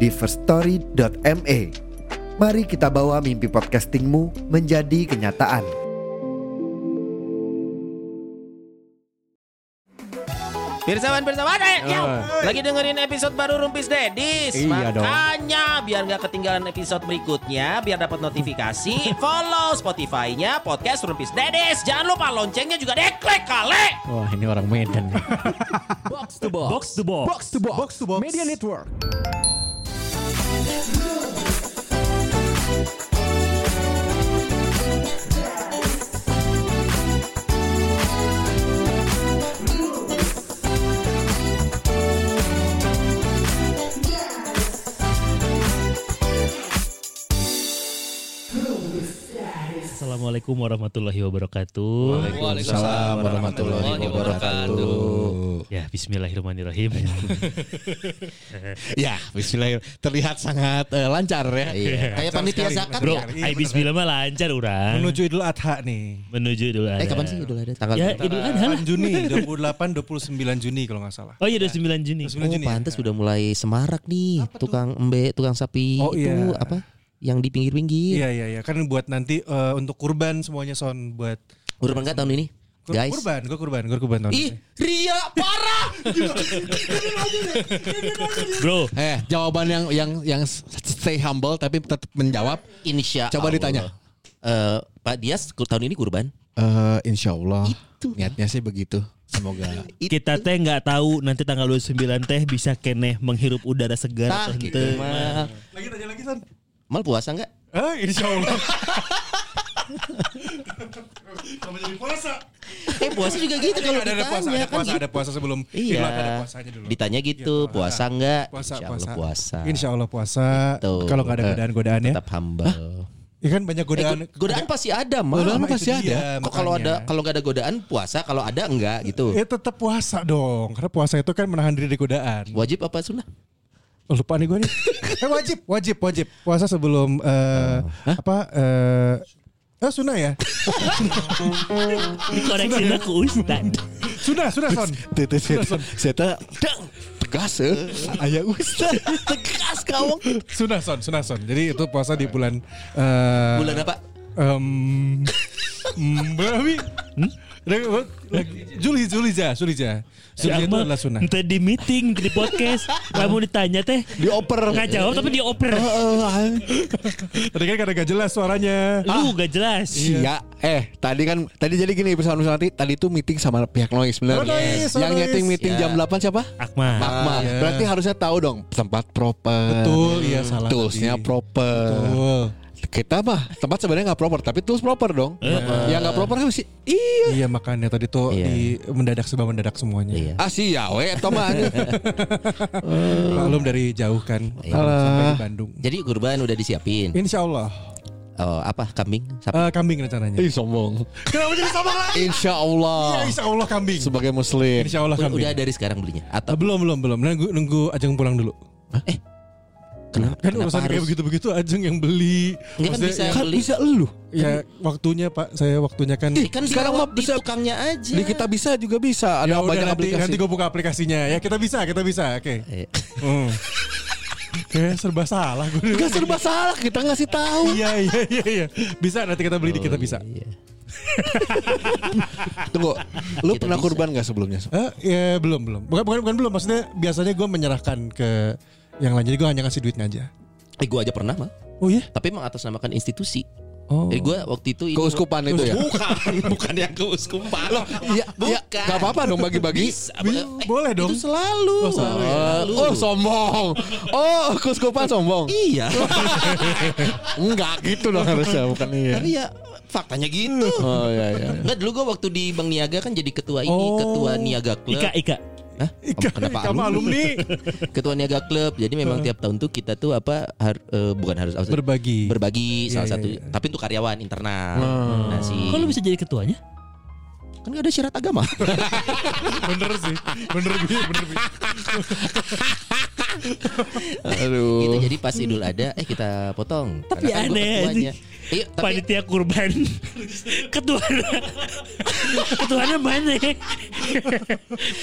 di firststory.me. Mari kita bawa mimpi podcastingmu menjadi kenyataan. Pirsawan pirsawan eh, ya. Eh. lagi dengerin episode baru Rumpis Dedis. Iya dong. Makanya biar nggak ketinggalan episode berikutnya, biar dapat notifikasi, follow Spotify-nya podcast Rumpis Dedis. Jangan lupa loncengnya juga deklek kale. Wah ini orang Medan nih. Box to box. Box to box. Box to box. Box to box. Media Network. Assalamualaikum warahmatullahi wabarakatuh. Waalaikumsalam warahmatullahi wabarakatuh. Ya Bismillahirrahmanirrahim. Ya, Bismillahirrahmanirrahim. Terlihat sangat eh, lancar ya. Kayak panitia zakat Bro, ya. ay Bismillah mah lancar urang. iya, Menuju Idul Adha nih. Menuju Idul Adha. Eh kapan sih Idul Adha? Tanggal Ya Idul Adha lah. 8 Juni, 28 29 Juni kalau nggak salah. Oh iya 29 Juni. 29 Oh, Juni. ya? pantas sudah mulai semarak nih. tukang embe, tukang sapi Oh, itu iya. apa? Yang di pinggir-pinggir. Iya iya iya kan buat nanti eh, untuk kurban semuanya son buat Udah pernah nggak tahun ini? Kur- Guys. kurban, gue kurban, gue kurban tahun Ih, ini. Ria parah. Bro, Eh, jawaban yang yang yang stay humble tapi tetap menjawab. Insya Coba Allah. ditanya. Eh, Pak Dias kur- tahun ini kurban. Eh, insya Allah. Niatnya sih begitu. Semoga. kita teh nggak tahu nanti tanggal 29 teh bisa keneh menghirup udara segar Tah, atau gitu henteu. mah. Lagi tanya lagi son. Mal puasa nggak? Ah, insya Allah. Kalau jadi puasa. Iya, Eh puasa juga gitu kalau ada, ada puasa, ditanya ada kan puasa, ada puasa sebelum Iya. Idul Adha ada puasanya dulu. Ditanya gitu, Iya, puasa nggak? Puasa, Insya Allah puasa. puasa. Insya Allah puasa. Gitu. Kalau nggak ada Eh, godaan-godaan ya. Tetap humble. Ya kan banyak Eh, godaan. go- godaan pasti ada, Mal. Godaan Sama itu pasti ada. dia, Kok kalau makanya. ada kalau nggak ada godaan puasa, kalau ada enggak gitu. Ya tetap puasa dong, karena puasa itu kan menahan diri dari godaan. Wajib apa sunnah? Oh, Lupa nih gue nih. eh wajib, wajib, wajib. Puasa sebelum eh, apa? eh eh sunnah ya? Dikoreksi aku Ustad. Sunnah, sunnah son. Tetes seta dang tegas eh. Aya ustaz. Tegas kawong. Sunnah son, sunnah son. Jadi itu puasa di bulan eh Bulan apa? Em mm, berapa? Hmm? Juli, Julija, Julija. Julija itu adalah sunnah. Ente di meeting, di podcast, kamu ditanya teh. Dioper. Nggak jawab tapi dioper. Oh, Eh, Tadi kan karena gak jelas suaranya. Lu gak jelas. Iya, eh tadi kan tadi jadi gini pesan pesan nanti tadi itu meeting sama pihak noise benar. Oh, Noise, oh, Yang Noise. nyeting meeting Ya. jam 8 siapa? Akmal. Akmal. iya. Berarti harusnya tahu dong tempat proper. Betul, iya salah. Toolsnya tadi. proper. Betul. Kita mah tempat sebenarnya nggak proper, tapi tools proper dong. Yang nggak proper kan sih. Iya. Iya makanya tadi tuh Iya. di mendadak sebab mendadak semuanya. Iya. Ah si yawe atau mah. Maklum dari jauh kan Iya. sampai di Bandung. Jadi kurban udah disiapin. Insya Allah Oh, apa? Kambing? Sapi? Eh, kambing rencananya. Ih sombong. Kenapa jadi sama lagi? Iya, Insya Allah. Insya Allah kambing. Sebagai muslim. Insya Allah Udah, kambing. udah dari sekarang belinya Eh, atau belum belum belum. Nunggu nunggu Ajeng pulang dulu. kenapa? Kan kenapa urusan kayak harus? begitu begitu Ajeng yang beli. Nggak kan Maksudnya, bisa Kan beli. bisa elu. Ya waktunya Pak, saya waktunya kan. Kan Sekarang sekarang mah di bisa- tukangnya aja. Di kita bisa juga bisa. Ada Ya udah, banyak nanti, aplikasi. Nanti gue buka aplikasinya. Ya kita bisa, kita bisa. Oke. Eh, Hmm. Kayak serba salah gue. Gak serba salah kita ngasih tahu. Iya iya iya iya. Bisa nanti kita beli di kita bisa. iya. Tunggu, lu Kita pernah bisa. kurban gak sebelumnya? Eh, ya belum belum. Bukan bukan bukan belum. Maksudnya biasanya gue menyerahkan ke yang lain. Jadi gue hanya kasih duitnya aja. Eh, gua aja pernah mah. Oh iya. Tapi emang atas namakan institusi. Oh. Eh, gua waktu itu ini Keuskupan itu ya? Bukan, bukan yang keuskupan. Loh, Iya, iya. Bukan. Gak apa-apa dong bagi-bagi. bisa. boleh dong. Itu selalu. Oh, selalu ya. Selalu. Oh sombong. Oh keuskupan sombong. Iya. Enggak gitu dong harusnya bukan iya. Tapi ya faktanya gitu. Oh iya iya. Enggak dulu gue waktu di Bank Niaga kan jadi ketua ini, Oh. ketua Niaga Club. Ika, Ika. Hah? Ika, Kenapa Ika mah alumni? Ketua Niaga Club. Jadi memang tiap tahun tuh kita tuh apa har- eh, bukan harus harus- Berbagi. berbagi salah Iya, satu. iya, iya. Tapi untuk karyawan internal. Nah, si Kok lu bisa jadi ketuanya? kan gak ada syarat agama. bener sih. Bener Bi, bener Bi. Aduh. gitu jadi pas Idul Adha eh kita potong. Tapi Karena kan gua aneh, ketuanya. anjing. Iya, tapi Panitia kurban. ketuanya. ketuanya mana?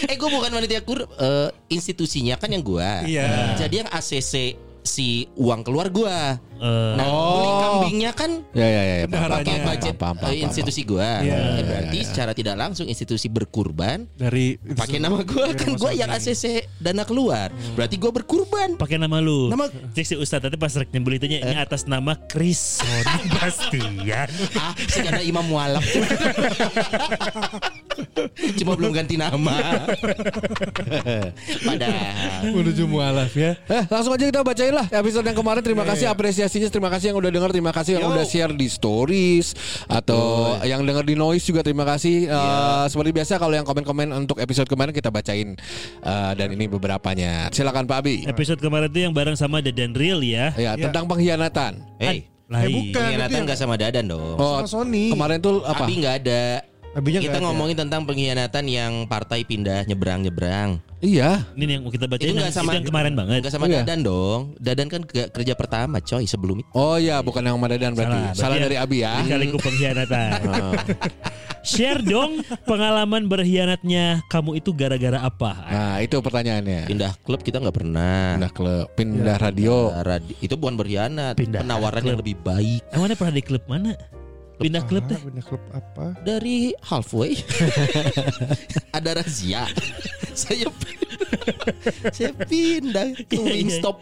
eh gue bukan wanita kur eh, institusinya kan yang gua. Iya. Jadi yang ACC si uang keluar gua. Eh, Nah, beli Oh. kambingnya kan Ya ya ya. ya, paham, paham, Bendaharanya. paham, budget paham, paham, eh, paham. institusi gua. Iya. Eh, berarti secara tidak langsung institusi berkurban Dari pakai nama Iya, gua kan gua yang ACC dana keluar. Hmm. Berarti gua berkurban. pakai nama lu. Nama- Eh. Cek si Ustadz tadi pas rek nyembelih tanya ini atas nama Oh, Krison Bastian. Ah, sekarang imam mualaf. Cuma belum ganti nama. Padahal menuju mualaf ya. Eh, langsung aja kita bacain lah episode yang kemarin. Terima kasih apresiasinya, terima kasih yang udah denger, terima kasih yang Yo. udah share di stories atau yang denger di noise juga terima kasih. Eh, seperti biasa kalau yang komen-komen untuk episode kemarin kita bacain Eh, dan ini beberapanya. Silakan Pak Abi. Episode kemarin tuh yang bareng sama Dadan Real ya. Ya, tentang pengkhianatan. Hey, Eh, Lain. bukan itu pengkhianatan yang- nggak sama dadan dong. Oh, Sama Sony. kemarin tuh apa? Abi nggak ada. Abinya Iya nggak kita ada. ngomongin tentang pengkhianatan yang partai pindah nyebrang nyebrang. Iya. Ini yang kita bacain Itu nggak yang, sama- itu yang kemarin banget. Enggak sama Iya. Dadan dong. Dadan kan ke- kerja pertama coy sebelum itu. Oh iya, bukan yang Madadan berarti. Salah, dari Abi ya. Kali pengkhianatan. Oh. Share dong pengalaman berkhianatnya kamu itu gara-gara apa? Nah, itu pertanyaannya. Pindah klub kita nggak pernah. Pindah klub, pindah radio. Nah, radi- itu bukan berkhianat. Pindah Penawaran klub. yang lebih baik Emang ada pernah di klub mana? Pindah klub deh. Punya klub apa? dari halfway. Ada razia. saya pindah. saya pindah ke Iya, iya. Wingstop.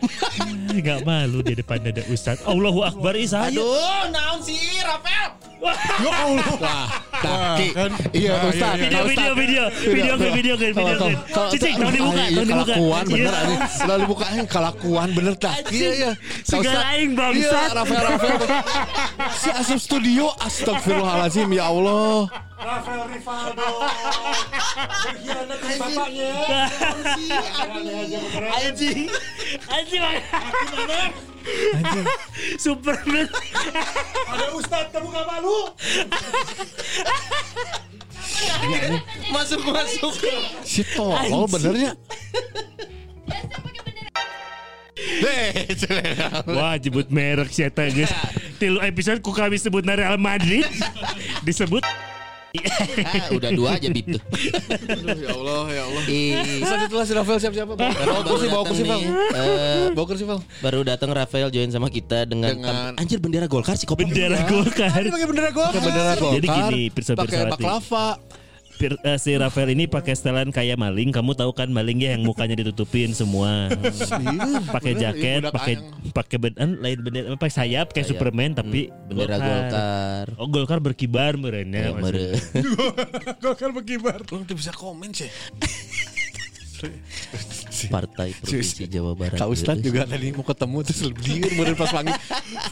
Gak malu di depan ada Ustadz. Allahu Akbar Isa. Aduh, naon sih Rafael? Ya Allah. Nah, Ki. iya, Nah, Ustaz. iya, Video, video, video, video, video, video, video, video. Iya, Cicing, tolong dibuka, tolong dibuka. Kelakuan Iya. bener anjing. Lalu buka anjing Eh, kelakuan bener tah. Iya iya. Segala aing Iya, bangsat. Rafael Rafael. Si Asif Studio astagfirullahalazim ya Allah. Anjing, anjing, anjing, Superman. Masuk-masuk. Si tolol benernya. Wah, jebut merek sih eta guys. Tilu episode ku kami sebut na Real Madrid disebut Ah, udah dua aja bib tuh. Ya Allah ya Allah. Ih. Bisa ditelah si Rafael siap siapa? Bawa Baru kursi, bawa datang kursi, Bang. nih, eh, Bawa kursi, Bang. baru datang Rafael join sama kita dengan, Dengan- anjir bendera Golkar sih kopong. bendera Golkar. bendera gua. bendera gua. Jadi gini, Pirsa pakai Pirsawati. baklava. Pir- eh, si Rafael ini pakai setelan kayak maling. Kamu tahu kan maling ya yang mukanya ditutupin semua. pakai Bener, iya, jaket, budak pakai anyang. pakai bendera, lain bendera, apa sayap kayak Sayap. Superman tapi bendera Golkar. Oh Golkar berkibar merenya. iya, Ya, mere. maksudnya. Golkar berkibar. Lu tuh bisa komen sih. Partai Provinsi Jawa Barat. ya, Kak Ustad juga tadi mau ketemu terus liur meureun pas wangi.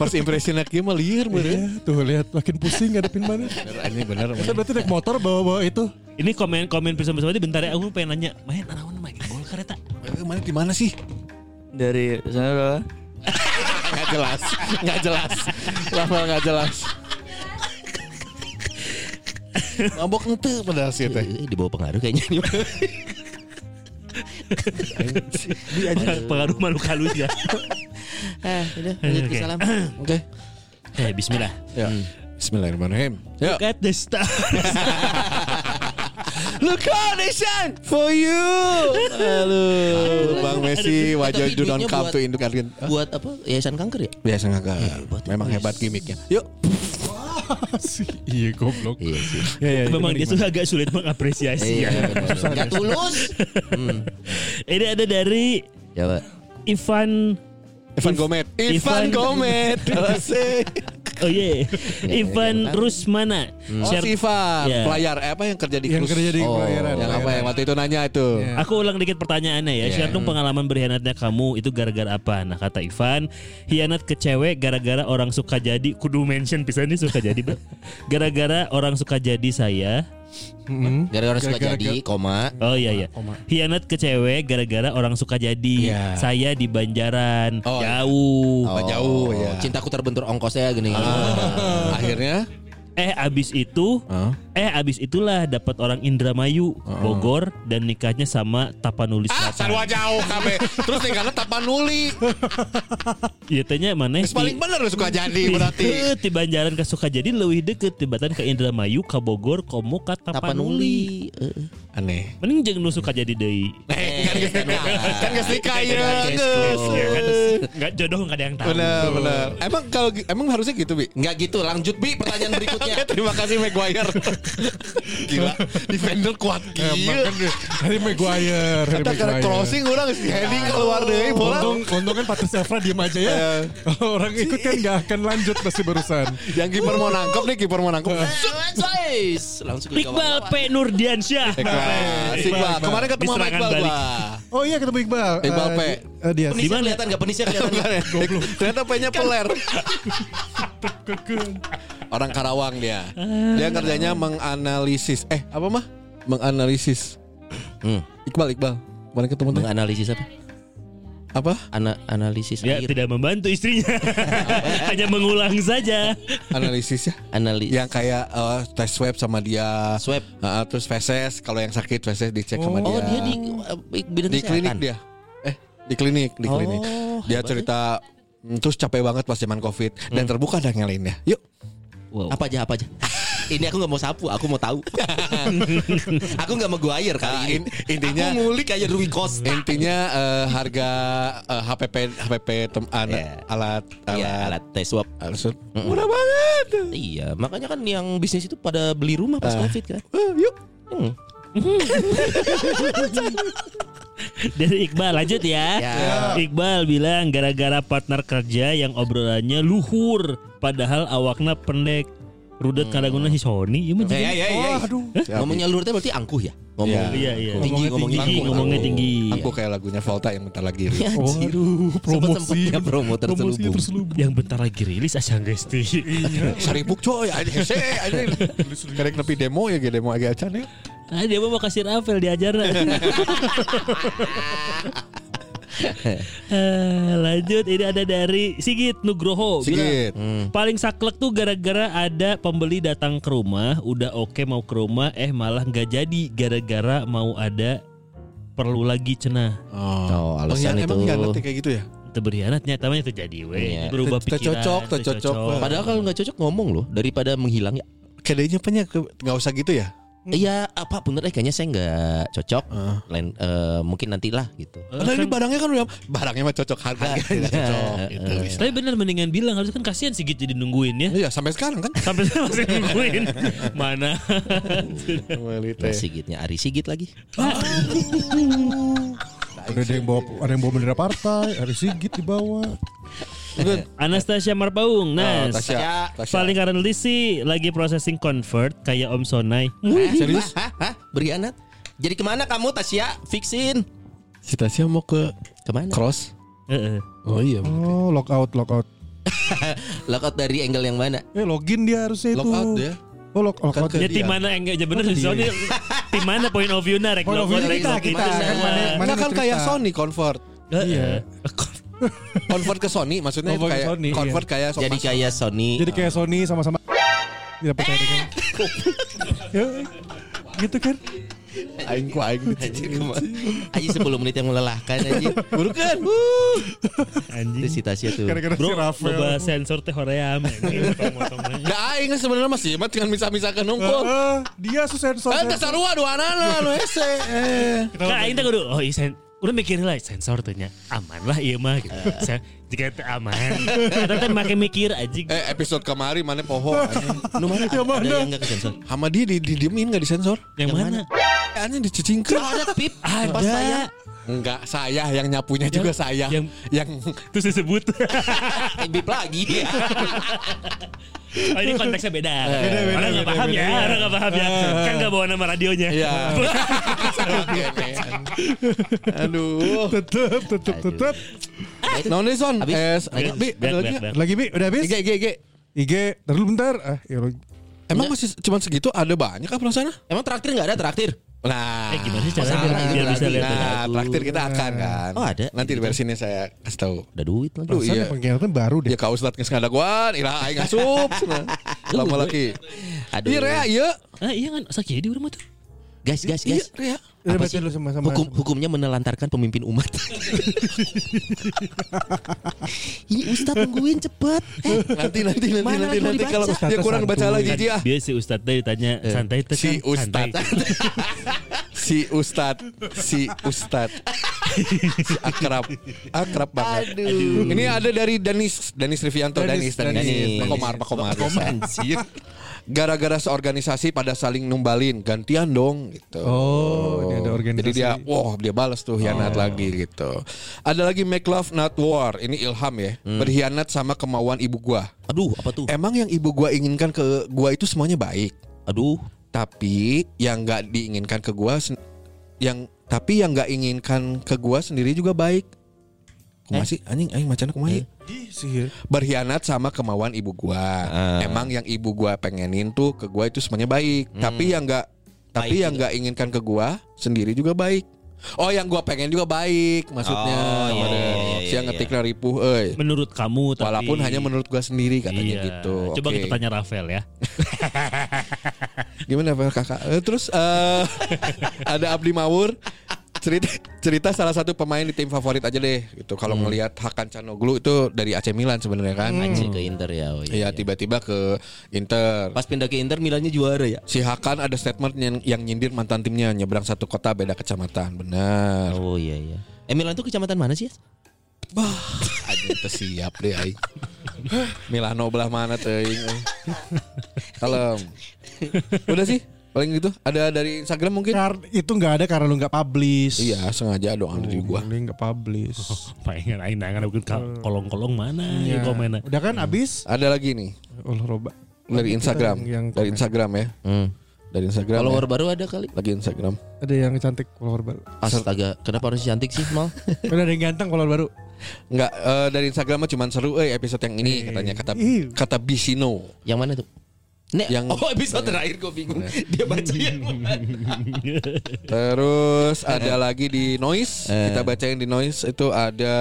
First impression-nya kieu mah liur meureun. Iya, tuh lihat makin pusing ngadepin mana. Ini bener. Kita berarti naik motor bawa-bawa itu. Ini komen-komen Pirsa Pirsawati bentar ya aku pengen nanya, main naon main Golkar eta? Eh, Mana di mana sih? dari sana Nggak jelas, nggak jelas. Rafael nggak jelas. Mabok ente padahal sih teh. Eh, di bawah pengaruh kayaknya ini. Pengaruh makhluk halus ya. ah, udah, lanjut ke Oke. salam. Oke. Eh bismillah. Ya. Bismillahirrahmanirrahim. Ya. Look at the star. Look out, they shine for you. Halo, Bang Messi, wajah Tapi you don't duitnya come buat- Eh, to Indo Argen. Buat apa? Yayasan kanker ya? Biasa nggak Memang hebat gimmicknya. Yuk. Iya goblok. Iya sih. Ya, ya, Memang gimana, dia gimana? sudah agak sulit mengapresiasi. Iya, benar. Gak tulus. Hmm. Ini ada dari Coba. Ivan Ivan Gomet. Ivan- Ivan Gomet. Asik. Oh iya, Ivan Nggak, Rusmana. Oh, Share- si Ivan, Ya. pelayar eh, apa yang kerja di yang cruise? kerja di Oh, pelayaran. yang apa yang pelayaran. waktu itu nanya itu? Iya. Aku ulang dikit pertanyaannya ya. Share dong pengalaman berkhianatnya kamu itu gara-gara apa? Nah kata Ivan, hianat ke cewek gara-gara orang suka jadi. Kudu mention pisan ini suka jadi. Bro. Gara-gara orang suka jadi saya Mm-mm. Gara-gara suka Gara-gara- jadi koma. Oh iya iya. Hianat ke cewek gara-gara orang suka jadi. Iya. Saya di Banjaran, Oh, iya. jauh. Oh, jauh, ya. Cintaku terbentur ongkosnya gini. Akhirnya Eh abis itu, Hah? eh abis itulah dapat orang Indramayu, Bogor dan nikahnya sama Tapanuli Ah, Selatan. sarua jauh kabeh. Terus tinggalnya tapanuli. Iya tanya mana? Terus paling bener suka jadi berarti. Di Banjaran ke Sukajadi lebih deket tibatan ke Indramayu ke Bogor komo ke Tapanuli. Tapanuli. Eh, Aneh. Mending jeung nu Sukajadi deui. Kan geus kan geus nikah ya, Kan geus. geus. Iya kan? Enggak jodoh enggak ada yang tahu. Bener, bener. Emang kalau gi- emang harusnya gitu, Bi. Nggak gitu, lanjut Bi pertanyaan berikutnya. Oke, terima kasih Maguire. Gila, defender kuat Emang gila. kan dia- dari Maguire. dari Kita karena Maguire. Oh. crossing orang si Henry keluar dari bola. Untung, untung kan Patrick Evra diem aja ya. Kalau orang ikut kan nggak akan lanjut pasti barusan. Yang kiper mau nangkep nih, kiper mau nangkep. Guys, langsung ke Iqbal kawan-kawan. P Nurdiansyah. Iqbal, si Iqbal. Kemarin ketemu sama Diserangan Iqbal balik. gua. Oh iya ketemu Iqbal. Iqbal Eh, P. eh, dia Penisnya kelihatan nggak penisnya kelihatan nggak? Ternyata P-nya Kan- peler. Orang Karawang dia. Dia Ah. kerjanya menganalisis. Eh, apa mah? Menganalisis. Hmm. Iqbal, Iqbal. Kemarin ketemu tuh. Menganalisis apa? Apa? Ana analisis Dia air. Ya, tidak membantu istrinya. Hanya mengulang saja. Analisis ya. Analis. Yang kayak eh, tes swab sama dia. Swab. Heeh, terus feses kalau yang sakit feses dicek sama dia. Oh, dia di eh, bidang di klinik kesehatan. dia. Eh, di klinik, di Oh, klinik. Dia hebat cerita mm, terus capek banget pas zaman Covid dan Hmm. terbuka dan yang lainnya. Yuk. Apa aja apa aja. ini aku nggak mau sapu, aku mau tahu. aku nggak mau guair Ah, kali Nah, ini. in- intinya- aku ngulik aja Rui Costa. Intinya eh, harga eh, HPP HPP tem- ana- Iya. alat alat, Iya, Eh, alat tes swab. alat- murah banget. Iya, makanya kan yang bisnis itu pada beli rumah pas Covid kan. Eh, yuk. Dari Iqbal lanjut ya. Iqbal bilang gara-gara partner kerja yang obrolannya luhur padahal awakna pendek. Rudet kadanguna si Sony ieu mah Ya, ya, jadi. ya, ya. Oh, Ngomongnya lurutnya berarti angkuh ya. Ngomong. Iya. Iya iya. Tinggi ngomongnya Tinggi angkuh. ngomongnya tinggi. Aku kayak lagunya Volta yang bentar lagi. Oh, Ya, rilis. anjir. Waduh, promosi. Sempet-sempetnya promo Promosinya terselubung. terselubung. Yang bentar lagi rilis ah, asa geus di. Saribuk coy, anjing se, anjing. Karek nepi demo ya, ge demo agak acan ya. Ah dia mah mau kasih Rafael diajarna. Eh, lanjut ini ada dari Sigit Oh, Nugroho bilang, Sigit. Paling saklek tuh gara-gara ada pembeli datang ke rumah, udah oke mau ke rumah, eh malah nggak jadi gara-gara mau ada perlu lagi cenah. Oh, alasan Pengkhianat- Hmm. itu. Emang khianatnya kayak gitu ya? Itu berkhianat nyatanya itu jadi we. Iya. Berubah Te- pikiran. tercocok, tercocok. tercocok. Padahal kalau nggak cocok ngomong loh daripada menghilang ya. Kayaknya punya nggak usah gitu ya? Iya, apa bener eh kayaknya saya nggak cocok. Heeh. Lain eh, mungkin nantilah gitu. Eh, Padahal ini kan- barangnya kan udah barangnya mah cocok harganya tidak cocok gitu. Eh, tapi bener mendingan bilang harus kan kasihan Sigit jadi nungguin ya. Iya sampai sekarang kan. Sampai sekarang masih nungguin. Mana? Nah, Sigitnya Ari Sigit lagi. Ada yang bawa ada yang bawa bendera partai, ada Sigit di bawah. Anastasia Marpaung. Nah, Oh, Tasya, Tasya. paling currently sih lagi processing convert kayak Om Sonai. Eh, serius? Hah? Hah? Berkhianat? Jadi kemana kamu Tasya? Fixin. Si Tasya mau ke Kemana? cross. Heeh. Oh iya. Oh, lockout, lockout. Lokat dari angle yang mana? Eh, login dia harusnya itu. Lockout ya. Oh, lock, lockout. Kan Ya ke- tim Iya. mana enggak ya bener soalnya tim mana point of view na rek Point of logo, view-nya rek kita, logo, kita. kita. Kan mana- mana Mana kan cerita. kayak Sony convert. Iya. Convert ke Sony maksudnya itu Convert ke kayak Sony, convert kayak so- Jadi kayak Sony. Jadi kayak Sony sama-sama tidak percaya dengan. Ya, gitu kan? aing ku aing Anjir, kemana? Aji 10 menit yang melelahkan anjir. Burukan. Itu Anjing. si Tasya tuh. Gara-gara si Bro, Rafael. loba sensor teh hoream. anjing, potong-potongnya. Nah aing sebenarnya masih mah dengan misah-misah ke Heeh, nungkul. Eh, dia susah sensor. Eh sarua dua anak nu ese. Eh. Kan aing teh kudu oh iya sen udah mikir lah sensor tuh nya aman lah ieu mah gitu. Saya jika teh aman. Eta teh make mikir anjing. Eh episode kemari mana poho. anjing. Nu mana? Ada yang nggak kesensor? Sama dia di didiemin nggak disensor? Yang mana? Anjing dicicingkeun. Ada pip. Pas saya. Ada. Enggak, saya yang nyapunya juga saya. Yang, yang- Terus disebut. Eh, Pip lagi. Oh ini konteksnya beda. beda, Orang nggak beda, paham ya, beda. orang nggak paham ya. Kan nggak bawa nama radionya. Iya. Aduh. Tetep, tetep, tetep. Nah, ini Son. Habis? Eh, Bi, Back, back, ada lagi back. iya. Lagi Bi, udah habis? IG, IG, IG. IG, ntar dulu bentar. Ah, ya, lo- Emang masih cuman segitu ada banyak apa sana? Emang traktir nggak ada traktir? Nah, Eh, gimana sih caranya masalah biar- itu biar bisa lagi. lihat ada Nah, traktir kita akan kan. Oh, ada. Nanti di sini saya kasih tahu. Ada duit lagi. Duh, Soalnya iya. pengkhianatan baru deh. Ya kau ustad geus ngadaguan, ira Iya, aing asup. cenah. Lama lagi. Aduh. Iya, Rea, iya. Ah, iya kan sakit di rumah tuh. Guys, guys, Iya, guys. Rea. Udah Apa baca sih? dulu sama-sama. Hukum hukumnya menelantarkan pemimpin umat. Ini Ustaz tungguin cepet. Eh, Nanti nanti nanti Mana nanti lagi mau nanti kalau dibaca? dia kurang baca Santuy. lagi ah. dia. Dia si Ustadz tadi tanya santai teh Iya. Eh, Si kan, santai. Ustad Si Ustad Si Ustad Si akrab Akrab banget Ini ada dari Danis Danis Rivianto Danis Danis, Danis, Danis. Pak Komar Pak Komar Gara-gara seorganisasi pada saling numbalin Gantian dong gitu Oh, dia ada organisasi. Oh. Jadi dia Wah dia balas tuh hianat lagi gitu Ada lagi Make Love Not War Ini Ilham ya Hmm. Berhianat sama kemauan ibu gua aduh, Uh. apa tuh? Emang yang ibu gua inginkan ke gua itu semuanya baik Aduh, tapi yang nggak diinginkan ke gua sen- yang tapi yang nggak inginkan ke gua sendiri juga baik Eh. Kumaha sih anjing anjing macan kumaha sih? Ih, sihir. berkhianat sama kemauan ibu gua Ah. emang yang ibu gua pengenin tuh ke gua itu semuanya baik Hmm. tapi yang nggak tapi yang nggak inginkan ke gua sendiri juga baik oh yang gua pengen juga baik maksudnya Oh, iya, Waduh, iya, iya, si yang iya. ngetikna ripuh euy. Menurut kamu tapi walaupun hanya menurut gua sendiri katanya Iya. gitu Coba Oke. kita tanya Rafael ya. Gimana Pak kakak? Eh, terus eh, ada Abdi Mawur cerita cerita salah satu pemain di tim favorit aja deh gitu. Kalau Hmm. melihat Hakan Canoglu itu dari AC Milan sebenarnya kan. anjing ke Inter ya. oh Iya iya, iya. tiba-tiba ke Inter. Pas pindah ke Inter Milannya juara ya. Si Hakan ada statement yang, yang nyindir mantan timnya nyebrang satu kota beda kecamatan. Benar. Oh iya iya. Eh Milan tuh kecamatan mana sih? ya? Anjing teu siap deh aing. Milano belah mana teh? Kalem. Udah sih. Paling gitu. Ada dari Instagram mungkin? Nah. Kar itu nggak ada karena lu nggak publish. Iya, sengaja doang dari gua. Lu nggak publish. Pengen aing nangan mungkin ka- kolong-kolong mana ya Oh. Hmm. Iya. komennya. Udah kan abis Ada lagi nih. Allah roba. dari Kita Instagram, yang- yang dari komen. Instagram ya, dari Instagram. Kalau ya. orang baru ada kali. lagi Instagram. Ada yang cantik follower baru. Astaga, kenapa harus cantik sih mal? Udah ada yang ganteng follower baru. Enggak eh, dari Instagram mah cuman seru eh episode yang ini katanya kata iya. kata Bisino. Yang mana tuh? Nek, Yang- oh episode terakhir gue bingung dia baca yang mana. Terus Eh. ada lagi di Noise, kita baca yang di Noise itu ada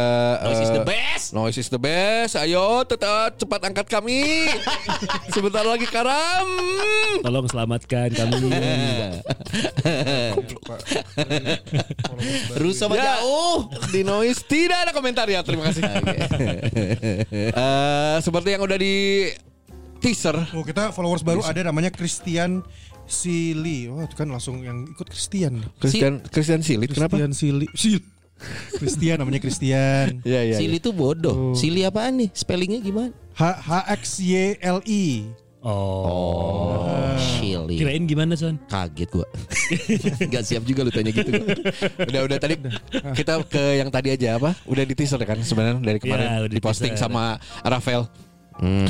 Noise is the eh, best. Noise is the best. Ayo tetap cepat angkat kami. Sebentar lagi karam. Tolong selamatkan kami. Russo "Oh, mah jauh. Ya, Di Noise tidak ada komentar ya. Terima kasih. Eh, seperti yang udah di teaser Oh, kita followers baru ada namanya Christian Sili. Wah, itu kan langsung yang ikut Christian. Christian Christian Silit kenapa? Christian Sili. Sil. Christian namanya Christian. Iya iya. Sili tuh bodoh. Sili apaan nih? Spellingnya gimana? H H X Y L I. Oh. Sili. Kirain gimana Son? Kaget gua. Gak siap juga lu tanya gitu. gua. Udah udah tadi kita ke yang tadi aja apa? Udah di teaser kan sebenarnya dari Iya, kemarin udah di diposting teaser. sama Rafael. Hmm.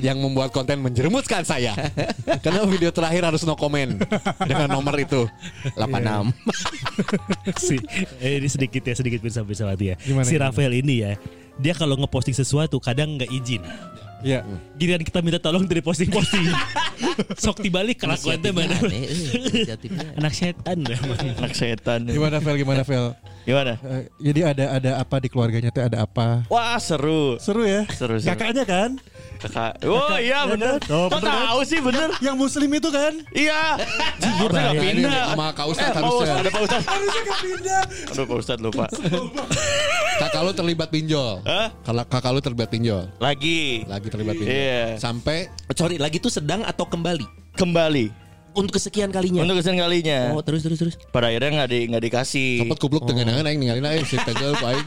yang membuat konten menjerumuskan saya. Karena video terakhir harus no comment dengan nomor itu 86. si eh, ini sedikit ya sedikit bisa bisa mati ya. Gimana, si gimana? Rafael ini ya, dia kalau ngeposting sesuatu kadang nggak izin. Ya. Giliran kita minta tolong dari posting-posting. Sok dibalik kelakuan teh mana. Aneh, eh, inisiatifnya. Anak setan dah. Anak setan. Gimana Vel? Gimana Vel? Gimana? Eh, jadi ada ada apa di keluarganya teh ada apa? Wah seru. Seru ya. Seru, seru. Kakaknya kan? Kakak. Oh iya bener. Oh, Kok bener kan? tahu sih bener? Yang muslim itu kan? Iya. Harusnya nggak pindah. sama Kak Ustadz Eh, Pak harusnya. Ustadz, ada Pak Ustadz. Aduh Pak Ustadz lupa. Kakak lu terlibat pinjol. Hah? Kalau kakak lu terlibat pinjol, Lagi. lagi terlibat Iya. Sampai Sorry, lagi tuh sedang atau kembali? Kembali. Untuk kesekian Iya. kalinya. Untuk kesekian kalinya. Oh, terus terus terus. Pada akhirnya nggak di, nggak dikasih. kupluk dengan dengan aing ninggalin aing si pinjol ku aing.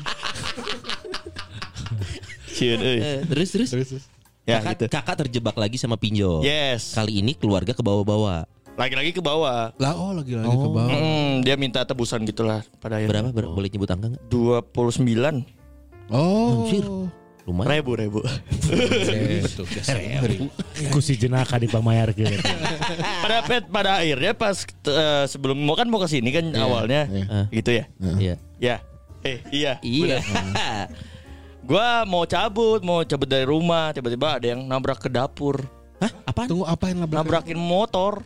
Ciut, euy. Eh, terus terus. Ya kakak, gitu. kakak terjebak lagi sama pinjol. Yes. Kali ini keluarga ke bawah-bawah. Lagi-lagi ke bawah. Lah oh lagi lagi ke bawah. Mm, dia minta tebusan gitulah pada Berapa? akhirnya. ber- Boleh nyebut angka nggak? 29 Oh. Anjir. Lumayan. ribu ribu. iya, Betul. Kusi jenaka di pamayar gitu. pada pet pada akhirnya pas eh, sebelum mau kan mau ke sini kan awalnya iya. gitu ya. Iya. Ya. Eh iya. Iya. Gua mau cabut, mau cabut dari rumah, tiba-tiba ada yang nabrak ke dapur. Hah? apa? Tunggu apa yang nabrak? Nabrakin motor.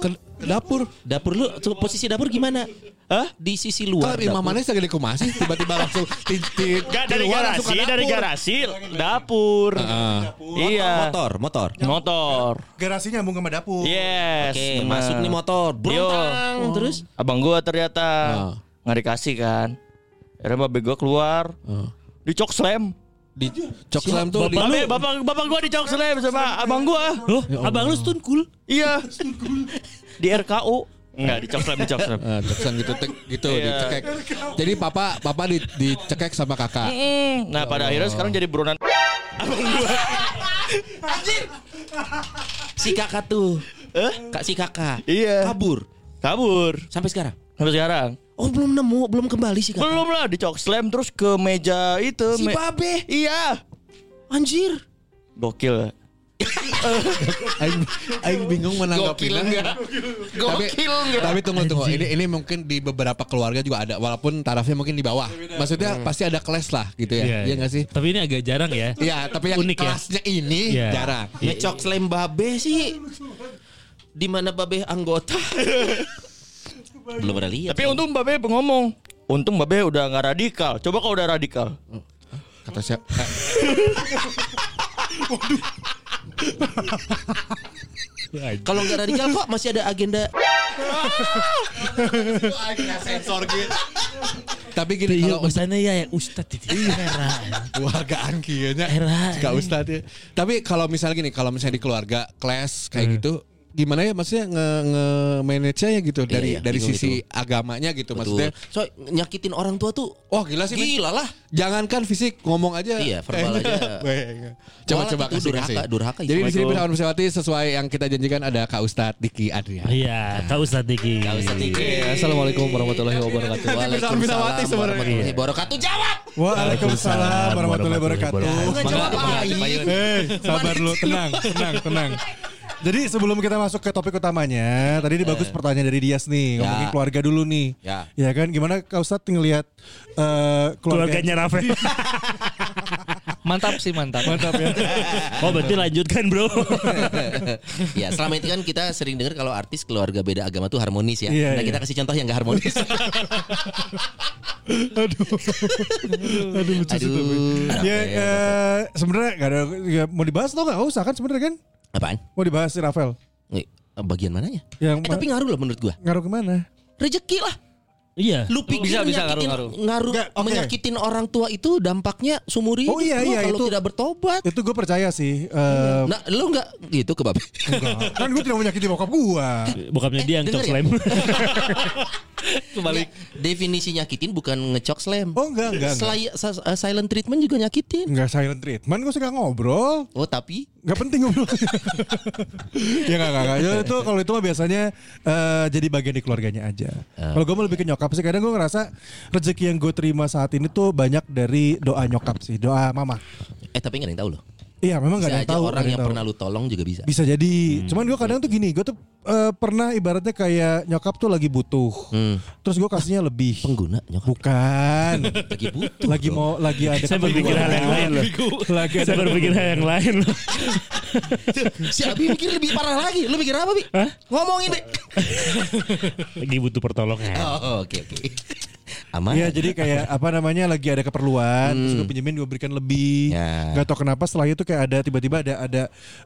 Ke dapur. Dapur lu tuh posisi dapur gimana? Hah? Di sisi luar. Kalau dapur. imamannya Kan lagi dekomasi tiba-tiba langsung titik. Enggak dari garasi, dari garasi dapur. Ah, Iya. Motor, motor. Motor. Garasi nyambung sama dapur. Yes. Oke, benar. masuk nih motor. Yo. Brontang terus. Nah. Abang gua ternyata nggak dikasih kan. Akhirnya babe gua keluar. Nah. Dicok slam. Di cok slam tuh di Babe, bapak bapak gua dicok slam sama abang gua. Loh, Ya abang lu stun cool. Iya. Di RKU. Enggak, dicok slam, dicok slam. Eh, cok slam gitu tek, gitu Iya. dicekek. Jadi papa papa di, dicekek sama kakak. Mm-mm. Nah, Ya pada akhirnya sekarang jadi buronan. Si kakak tuh. Eh? Kak si kakak. Iya. Kabur Kabur. sampai sekarang. Sampai sekarang. Oh, belum nemu, belum kembali si kakak. Belum lah dicok slam terus ke meja itu. Si me- Babe. Iya. Anjir. Ya Gokil. Aing, aing bingung menanggapinnya. Gokil enggak? Tapi tunggu tunggu. Ini ini mungkin di beberapa keluarga juga ada walaupun tarafnya mungkin di bawah. Maksudnya pasti ada kelas lah gitu ya. Iya enggak sih? Tapi ini agak jarang ya. Iya, tapi yang Unik ya? kelasnya ini Iya. jarang. Ngecok slam babe sih. Di mana babe anggota? belum pernah lihat. Tapi untung Babe ngomong. Untung Babe udah nggak radikal. Coba kalau udah radikal. Kata eh, siapa? Kalau nggak radikal kok masih ada agenda Tapi Iya, gini kalau sana ya yang ustad itu. Heran. keluargaan kayaknya Heran. Gak ustad ya. Tapi kalau misalnya gini, kalau misalnya di keluarga kelas kayak Hmm. gitu, gimana ya maksudnya nge, nge manage nya gitu dari iya, dari bingung sisi agamanya gitu maksudnya. Betul. So nyakitin orang tua tuh Wah gila sih. men. gila lah. Jangankan fisik ngomong aja. Iya, verbal aja. iya. Weh, Coba Walau coba itu kasih durhaka, kasih. durhaka. Jadi di sini bersama Sewati sesuai yang kita janjikan ada Kak Ustad Diki Adrian. Iya, tahu ustad Diki. Tahu ustad Assalamualaikum warahmatullahi wabarakatuh. Nawati Waalaikumsalam sebenarnya. warahmatullahi wabarakatuh. Jawab. Waalaikumsalam warahmatullahi wabarakatuh. Bukan jawab lain. Eh, sabar lu, tenang, tenang, tenang. Jadi sebelum kita masuk ke topik utamanya, tadi ini bagus pertanyaan dari Dias nih, ngomongin keluarga dulu nih. Ya. Eh. Ya kan, gimana Kak Ustadz ngelihat eh, keluarga? Keluarganya Rafael. Mantap sih mantap. Mantap ya. Oh, berarti lanjutkan, Bro. Ya, selama itu kan kita sering dengar kalau artis keluarga beda agama tuh harmonis ya. Iya, Nah, iya. kita kasih contoh yang gak harmonis. Aduh, lucu sih tapi. Aduh. Ya, Rafael. eh, sebenarnya nggak ada ya, mau dibahas atau nggak Nggak usah kan sebenarnya kan? Apaan? Mau dibahas si Rafael. Eh, Bagian mananya? Yang Eh, tapi ngaruh loh menurut gua. ngaruh kemana? Rezeki lah. Iya. Lu pikir Bisa, bisa, menyakitin, ngaruh, ngaruh Nggak, oke. menyakitin orang tua itu dampaknya seumur hidup. Oh, iya, lu iya, kalau itu- tidak bertobat. Itu gue percaya sih. eh, Nah, lu nggak gitu ke babe. enggak. kan gue tidak mau nyakiti bokap gue. Bokapnya dia yang denger cok ya? slam. Kebalik. Definisi nyakitin bukan ngecok slam. Oh enggak, enggak, enggak. Sli- sa- uh, silent treatment juga nyakitin. Enggak silent treatment, gue suka ngobrol. Oh tapi Enggak penting ngobrol. ya enggak, enggak, enggak. Ya, itu kalau itu mah biasanya eh, jadi bagian di keluarganya aja. Ah. kalau gue mau lebih ke nyokap sih, kadang gue ngerasa rezeki yang gue terima saat ini tuh banyak dari doa nyokap sih, doa mama. eh tapi nggak ada yang tahu loh. Iya, memang Bisa enggak ada aja yang tahu. nggak orang ada yang tahu. pernah lu tolong juga bisa. Bisa jadi. Hmm. Cuman gue kadang tuh gini, gue tuh eh, pernah ibaratnya kayak nyokap tuh lagi butuh. Hmm. Terus gue kasihnya lebih. Pengguna nyokap Bukan. lagi butuh. lagi dong. mau lagi ada Saya berpikir hal yang lain loh. Lagi ada Saya berpikir hal yang lain loh. Si Abi mikir lebih parah lagi. Lu mikir apa Bi? Hah? Ngomongin deh. Lagi butuh pertolongan. Oh oke oke. Aman. Iya jadi kayak apa namanya lagi ada keperluan terus gue pinjemin gue berikan lebih Hmm. Ya. nggak tau kenapa setelah itu kayak ada tiba-tiba ada ada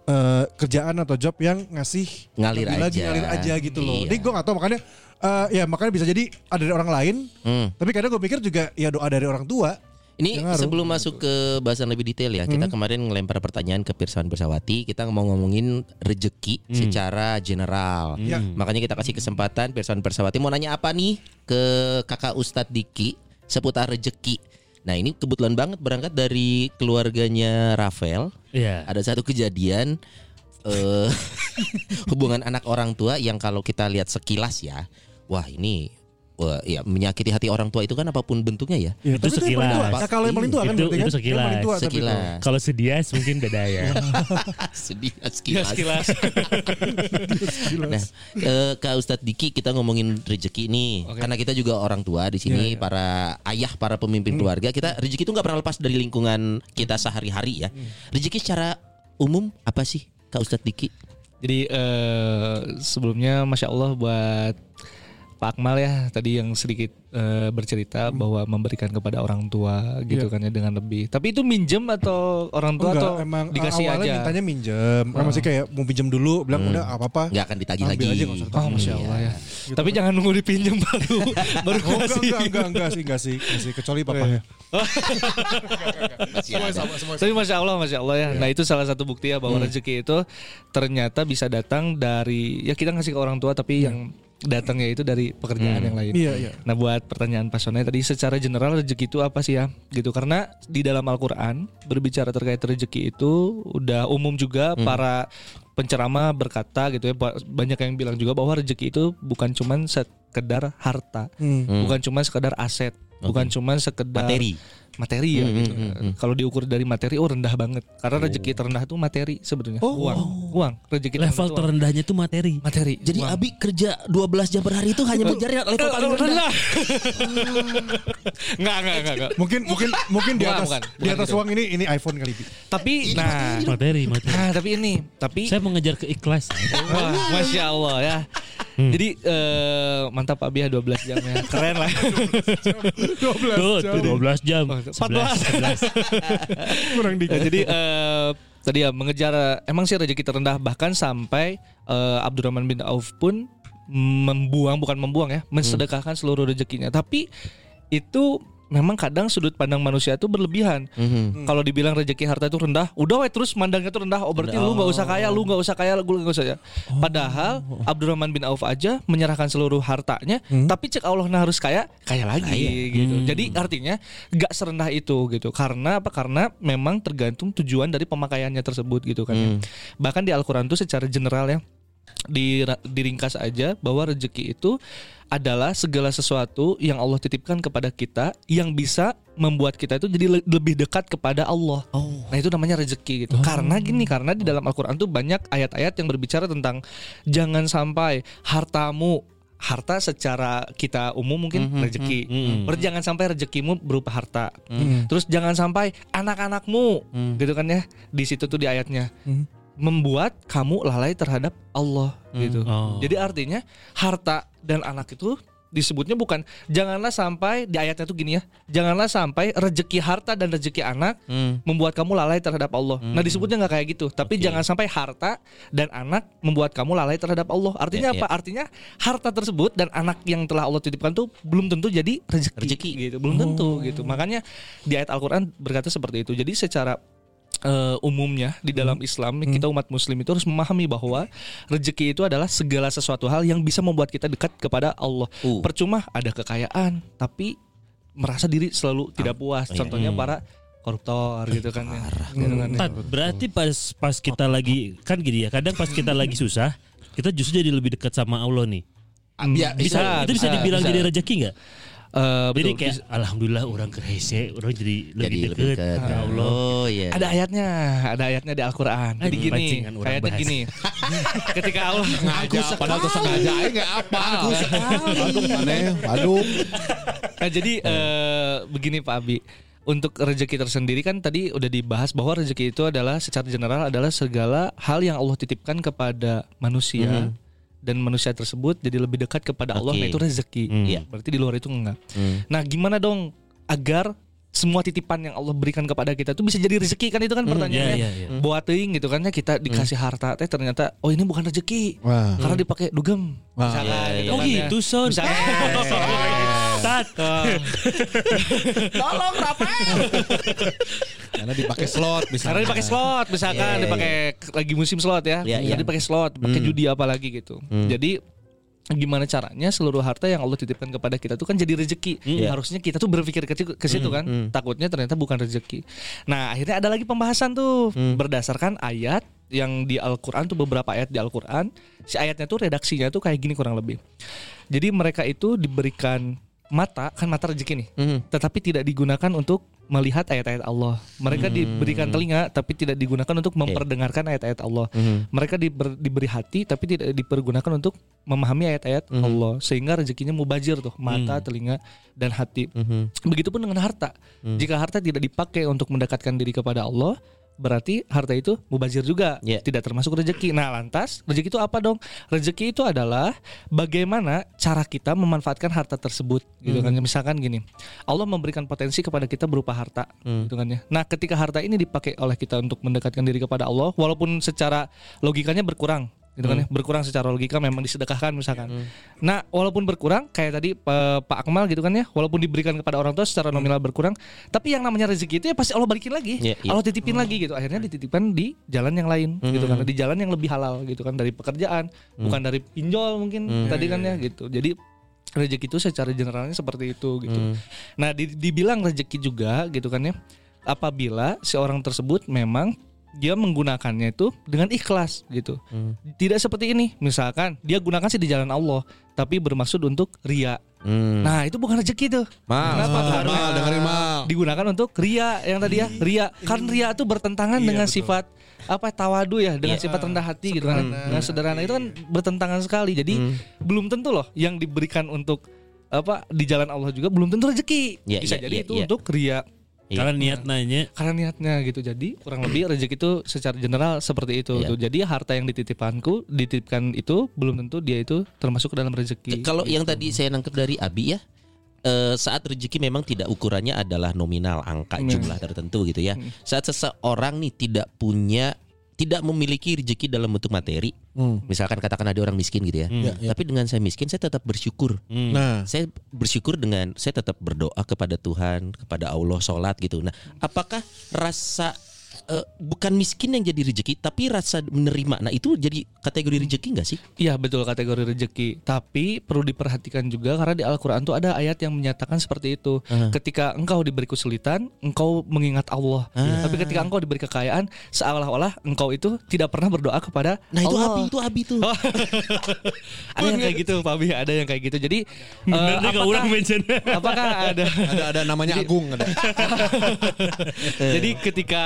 eh, kerjaan atau job yang ngasih Ngalir lebih lagi aja. ngalir aja gitu loh Iya. jadi gue nggak tau makanya eh, ya makanya bisa jadi ada dari orang lain Hmm. tapi kadang gue pikir juga ya doa dari orang tua Ini Yang ngaruh. sebelum masuk ke bahasan lebih detail ya, kita kemarin ngelempar pertanyaan ke Pirsawan Bersawati. Kita mau ngomongin rejeki secara general. Ya. Makanya kita kasih kesempatan Pirsawan Bersawati mau nanya apa nih ke kakak Ustadz Diki seputar rejeki. Nah ini kebetulan banget berangkat dari keluarganya Rafael. Iya. Ada satu kejadian eh hubungan anak orang tua yang kalau kita lihat sekilas ya, wah ini wah, ya menyakiti hati orang tua itu kan apapun bentuknya ya. Ya, Itu tapi yang paling tua. sekilas. Nah, kalau yang paling tua kan Itu- berarti kan? itu Yang paling tua tapi itu. Sekilas. Kalau sedias mungkin beda ya. sedih Ya, Iya, sekilas. nah, eh, Kak Ustadz Diki kita ngomongin rezeki nih. Karena kita juga orang tua di Ya, sini, para ayah, para Hmm. pemimpin keluarga, kita rezeki itu nggak pernah lepas dari Hmm. lingkungan kita sehari-hari ya. Rezeki secara umum apa sih Kak Ustadz Diki? Jadi eh, sebelumnya masya Allah buat Pak Akmal ya tadi yang sedikit eh, bercerita Hmm. bahwa memberikan kepada orang Iya. tua gitu kan ya dengan lebih. Tapi itu minjem atau orang tua atau emang dikasih awalnya aja? mintanya minjem. Emang masih kayak mau pinjem dulu, bilang udah apa apa. Hmm. Nggak akan ditagih Ambil lagi. aja, nggak usah Oh masya Allah ya. gitu Tapi kan. jangan nunggu dipinjem baru baru Oh, enggak, kasih. enggak, enggak, enggak sih, enggak sih, enggak sih. Kecuali papanya. Masih ada. Tapi masya Allah, masya Allah Iya. ya. Nah itu salah satu bukti ya Hmm. bahwa rezeki itu ternyata bisa datang dari ya kita ngasih ke orang tua tapi yang datangnya itu dari pekerjaan yang lain. Iya, iya. Nah buat pertanyaan Pak Sonai tadi secara general rezeki itu apa sih ya? Gitu karena di dalam Al-Quran berbicara terkait rezeki itu udah umum juga Hmm. para penceramah berkata gitu ya ba- banyak yang bilang juga bahwa rezeki itu bukan cuman sekedar harta, Hmm. bukan cuman sekedar aset, bukan cuman sekedar Materi. Mm-hmm, materi ya gitu. Kalau diukur dari materi oh rendah banget. Karena rezeki terendah itu materi sebetulnya. uang, uang, Level rezeki terendah itu uang. terendahnya itu materi. materi. Jadi uang. Abi kerja 12 jam per hari itu hanya mencari level paling rendah. Enggak, enggak, enggak, enggak. Mungkin mungkin mungkin di Bukan, atas bukan, di bukan atas gitu. uang ini ini iPhone kali. Bi. Tapi nah, Materi, materi. nah, tapi ini, tapi Saya mengejar keikhlasan. Wah, Masya Allah ya. Hmm. Jadi eh, mantap Pak Bia 12 jamnya. Keren lah. Tuh, tuh, 12 jam. 14. Kurang Nah, dikit. jadi eh, tadi ya mengejar eh, emang sih rezeki terendah bahkan sampai eh, Abdurrahman bin Auf pun membuang bukan membuang ya, mensedekahkan seluruh rezekinya. Tapi itu memang kadang sudut pandang manusia itu berlebihan. Kalau dibilang rezeki harta itu rendah, udah we terus mandangnya itu rendah. Oh berarti lu nggak usah kaya, lu nggak usah kaya, lu nggak usah kaya. Padahal Abdurrahman bin Auf aja menyerahkan seluruh hartanya, tapi cek Allah nah harus kaya, kaya lagi gitu. Jadi artinya nggak serendah itu gitu. Karena apa? Karena memang tergantung tujuan dari pemakaiannya tersebut gitu kan. ya. Bahkan di Al-Qur'an itu secara general ya di diringkas aja bahwa rezeki itu adalah segala sesuatu yang Allah titipkan kepada kita yang bisa membuat kita itu jadi le- lebih dekat kepada Allah. Nah, itu namanya rezeki gitu. Karena gini, karena di dalam Al-Qur'an tuh banyak ayat-ayat yang berbicara tentang jangan sampai hartamu harta secara kita umum mungkin rezeki. Terus jangan sampai rezekimu berupa harta. Terus jangan sampai anak-anakmu gitu kan ya. Di situ tuh di ayatnya. Membuat kamu lalai terhadap Allah gitu. Oh. Jadi artinya harta dan anak itu disebutnya bukan janganlah sampai di ayatnya tuh gini ya. Janganlah sampai rezeki harta dan rezeki anak membuat kamu lalai terhadap Allah. Nah disebutnya nggak kayak gitu, tapi jangan sampai harta dan anak membuat kamu lalai terhadap Allah. Ya, Artinya apa? Artinya harta tersebut dan anak yang telah Allah titipkan tuh belum tentu jadi rezeki, gitu, belum Oh. tentu gitu. Makanya di ayat Al-Qur'an berkata seperti itu. Jadi secara eh, umumnya Hmm. di dalam Islam kita umat muslim itu harus memahami bahwa rezeki itu adalah segala sesuatu hal yang bisa membuat kita dekat kepada Allah. Uh. Percuma ada kekayaan tapi merasa diri selalu tidak puas. iya. Contohnya Hmm. para koruptor gitu kan. ya. Gitu kan ya. Tat, berarti pas pas kita lagi kan gini ya, kadang pas kita lagi susah, kita justru jadi lebih dekat sama Allah nih. Ya, Hmm. Bisa, itu bisa, Oh, dibilang jadi rezeki nggak? Iya, Eh, Jadi betul. kayak alhamdulillah orang kehese, orang jadi Jadi lebih lebih dekat Ya dekat. ke Allah. Oh iya. ada ayatnya, ada ayatnya di Al-Qur'an. Jadi Aduh, gini, pancingan orang ayatnya bahas. gini. Ketika Allah Sengaja, padahal tuh sengaja aja nggak apa. Aduh, aneh, aduh. Nah, jadi Hmm. eh, begini Pak Abi, untuk rezeki tersendiri kan tadi udah dibahas bahwa rezeki itu adalah secara general adalah segala hal yang Allah titipkan kepada manusia Hmm. dan manusia tersebut jadi lebih dekat kepada Allah nah itu rezeki. Hmm. Iya, berarti di luar itu enggak. Nah, gimana dong agar semua titipan yang Allah berikan kepada kita itu bisa jadi rezeki kan itu kan pertanyaannya. iya, iya. Hmm. Buat teuing gitu kan ya kita dikasih harta teh ternyata oh ini bukan rezeki. Wah. Karena dipakai dugem. Misalkan gitu iya, Oh kan ya. gitu son. Tat. Tolong Rafael. Karena dipakai slot misalnya. Karena dipakai slot misalkan Iya, iya, dipakai lagi musim slot ya. Iya, Jadi iya. Hmm. pakai slot, pakai judi apalagi gitu. Jadi gimana caranya seluruh harta yang Allah titipkan kepada kita tuh kan jadi rezeki. Hmm. Iya. Harusnya kita tuh berpikir ke ke situ kan. Takutnya ternyata bukan rezeki. Nah, akhirnya ada lagi pembahasan tuh Hmm. berdasarkan ayat yang di Al-Qur'an tuh beberapa ayat di Al-Qur'an. Si ayatnya tuh redaksinya tuh kayak gini kurang lebih. Jadi mereka itu diberikan mata kan mata rezeki nih, Hmm. tetapi tidak digunakan untuk melihat ayat-ayat Allah. Hmm. Mereka diberikan telinga tapi tidak digunakan untuk memperdengarkan ayat-ayat Allah. Mereka diber- diberi hati tapi tidak dipergunakan untuk memahami ayat-ayat Allah. Sehingga rezekinya mubajir tuh mata, telinga dan hati. Begitupun dengan harta. Jika harta tidak dipakai untuk mendekatkan diri kepada Allah, berarti harta itu mubazir juga, Iya. tidak termasuk rezeki. Nah, lantas rezeki itu apa dong? Rezeki itu adalah bagaimana cara kita memanfaatkan harta tersebut gitu kan. Misalkan gini, Allah memberikan potensi kepada kita berupa harta gitu kan ya. Nah, ketika harta ini dipakai oleh kita untuk mendekatkan diri kepada Allah walaupun secara logikanya berkurang gitu kan ya. Berkurang secara logika memang disedekahkan misalkan. Nah, walaupun berkurang kayak tadi eh, Pak Akmal gitu kan ya, walaupun diberikan kepada orang tua secara nominal berkurang, tapi yang namanya rezeki itu ya pasti Allah balikin lagi. Iya, Hmm. iya. Allah titipin lagi gitu. Akhirnya dititipkan di jalan yang lain gitu kan, di jalan yang lebih halal gitu kan dari pekerjaan, Hmm. bukan dari pinjol mungkin tadi Iya, kan ya gitu. Jadi rezeki itu secara generalnya seperti itu gitu. Hmm. Nah, di- dibilang rezeki juga gitu kan ya. Apabila si orang tersebut memang dia menggunakannya itu dengan ikhlas gitu. Hmm. Tidak seperti ini. Misalkan dia gunakan sih di jalan Allah, tapi bermaksud untuk ria. Hmm. Nah, itu bukan rezeki tuh. Mal. Kenapa? Karena Ah, Mal, dengerin mal. Oh. digunakan untuk ria yang tadi ya. Ria kan ria itu bertentangan dengan sifat apa tawadu ya dengan sifat rendah hati gitu kan. Nah, sederhana itu kan bertentangan sekali. Jadi Hmm. belum tentu loh yang diberikan untuk apa di jalan Allah juga belum tentu rezeki. Iya, Bisa iya, jadi iya, itu iya. untuk ria Iya. Karena niat nanya karena niatnya gitu jadi kurang lebih rezeki itu secara general seperti itu Iya. tuh. jadi harta yang dititipanku dititipkan itu belum tentu dia itu termasuk ke dalam rezeki Gitu. Kalau yang tadi saya nangkep dari Abi ya, eh, saat rezeki memang tidak ukurannya adalah nominal angka Iya. jumlah tertentu gitu ya. Saat seseorang nih tidak punya tidak memiliki rezeki dalam bentuk materi. Misalkan katakan ada orang miskin gitu ya. Tapi dengan saya miskin saya tetap bersyukur. Hmm. Nah, Saya bersyukur dengan saya tetap berdoa kepada Tuhan, kepada Allah, sholat gitu. Nah, apakah rasa eh, bukan miskin yang jadi rezeki, tapi rasa menerima. Nah, itu jadi kategori rezeki nggak sih? iya betul kategori rezeki tapi perlu diperhatikan juga karena di Al-Qur'an tuh ada ayat yang menyatakan seperti itu Ah. ketika engkau diberi kesulitan engkau mengingat Allah Ah. tapi ketika engkau diberi kekayaan seolah-olah engkau itu tidak pernah berdoa kepada Nah, itu Allah Oh. Abi, itu Abi tuh. ada yang kayak gitu Pak Abi ada yang kayak gitu jadi eh, Bener deh gak apakah- orang mention apakah ada ada ada namanya Agung ada. Eh. Jadi ketika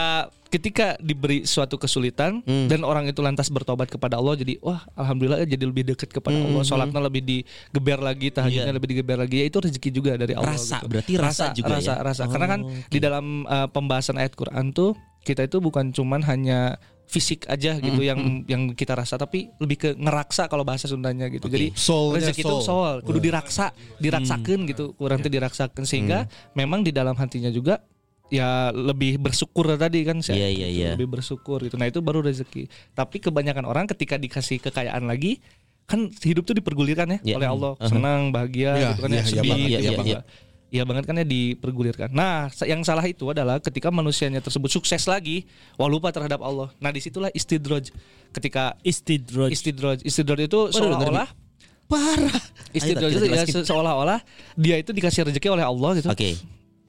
ketika diberi suatu kesulitan Hmm. dan orang itu lantas bertobat kepada Allah jadi wah alhamdulillah ya jadi lebih dekat kepada Hmm. Allah sholatnya lebih digeber lagi tahajudnya lebih digeber lagi ya itu rezeki juga dari Allah Iya. Rasa, gitu. berarti rasa juga rasa ya? rasa karena kan di dalam uh, pembahasan ayat Quran tuh kita itu bukan cuman hanya fisik aja Hmm, gitu yang yang kita rasa tapi lebih ke ngeraksa kalau bahasa Sundanya gitu jadi Soulnya rezeki itu soul. soal Iya. kudu diraksa diraksakan Hmm. gitu kurang teh diraksakan sehingga memang di dalam hatinya juga ya lebih bersyukur tadi kan si Iya, Ayat iya, itu, iya. lebih bersyukur gitu nah itu baru rezeki tapi kebanyakan orang ketika dikasih kekayaan lagi kan hidup tuh dipergulirkan ya Iya. oleh Allah Aha. senang bahagia Iya, gitu kan iya, ya iya sedih banget, gitu iya ya, banget. Bang. Iya banget kan ya dipergulirkan. Nah, sa- yang salah itu adalah ketika manusianya tersebut sukses lagi, wah lupa terhadap Allah. Nah, disitulah istidroj. Ketika istidroj. istidroj istidroj itu seolah-olah Parah. istidroj itu ya se- seolah-olah dia itu dikasih rezeki oleh Allah gitu. Oke.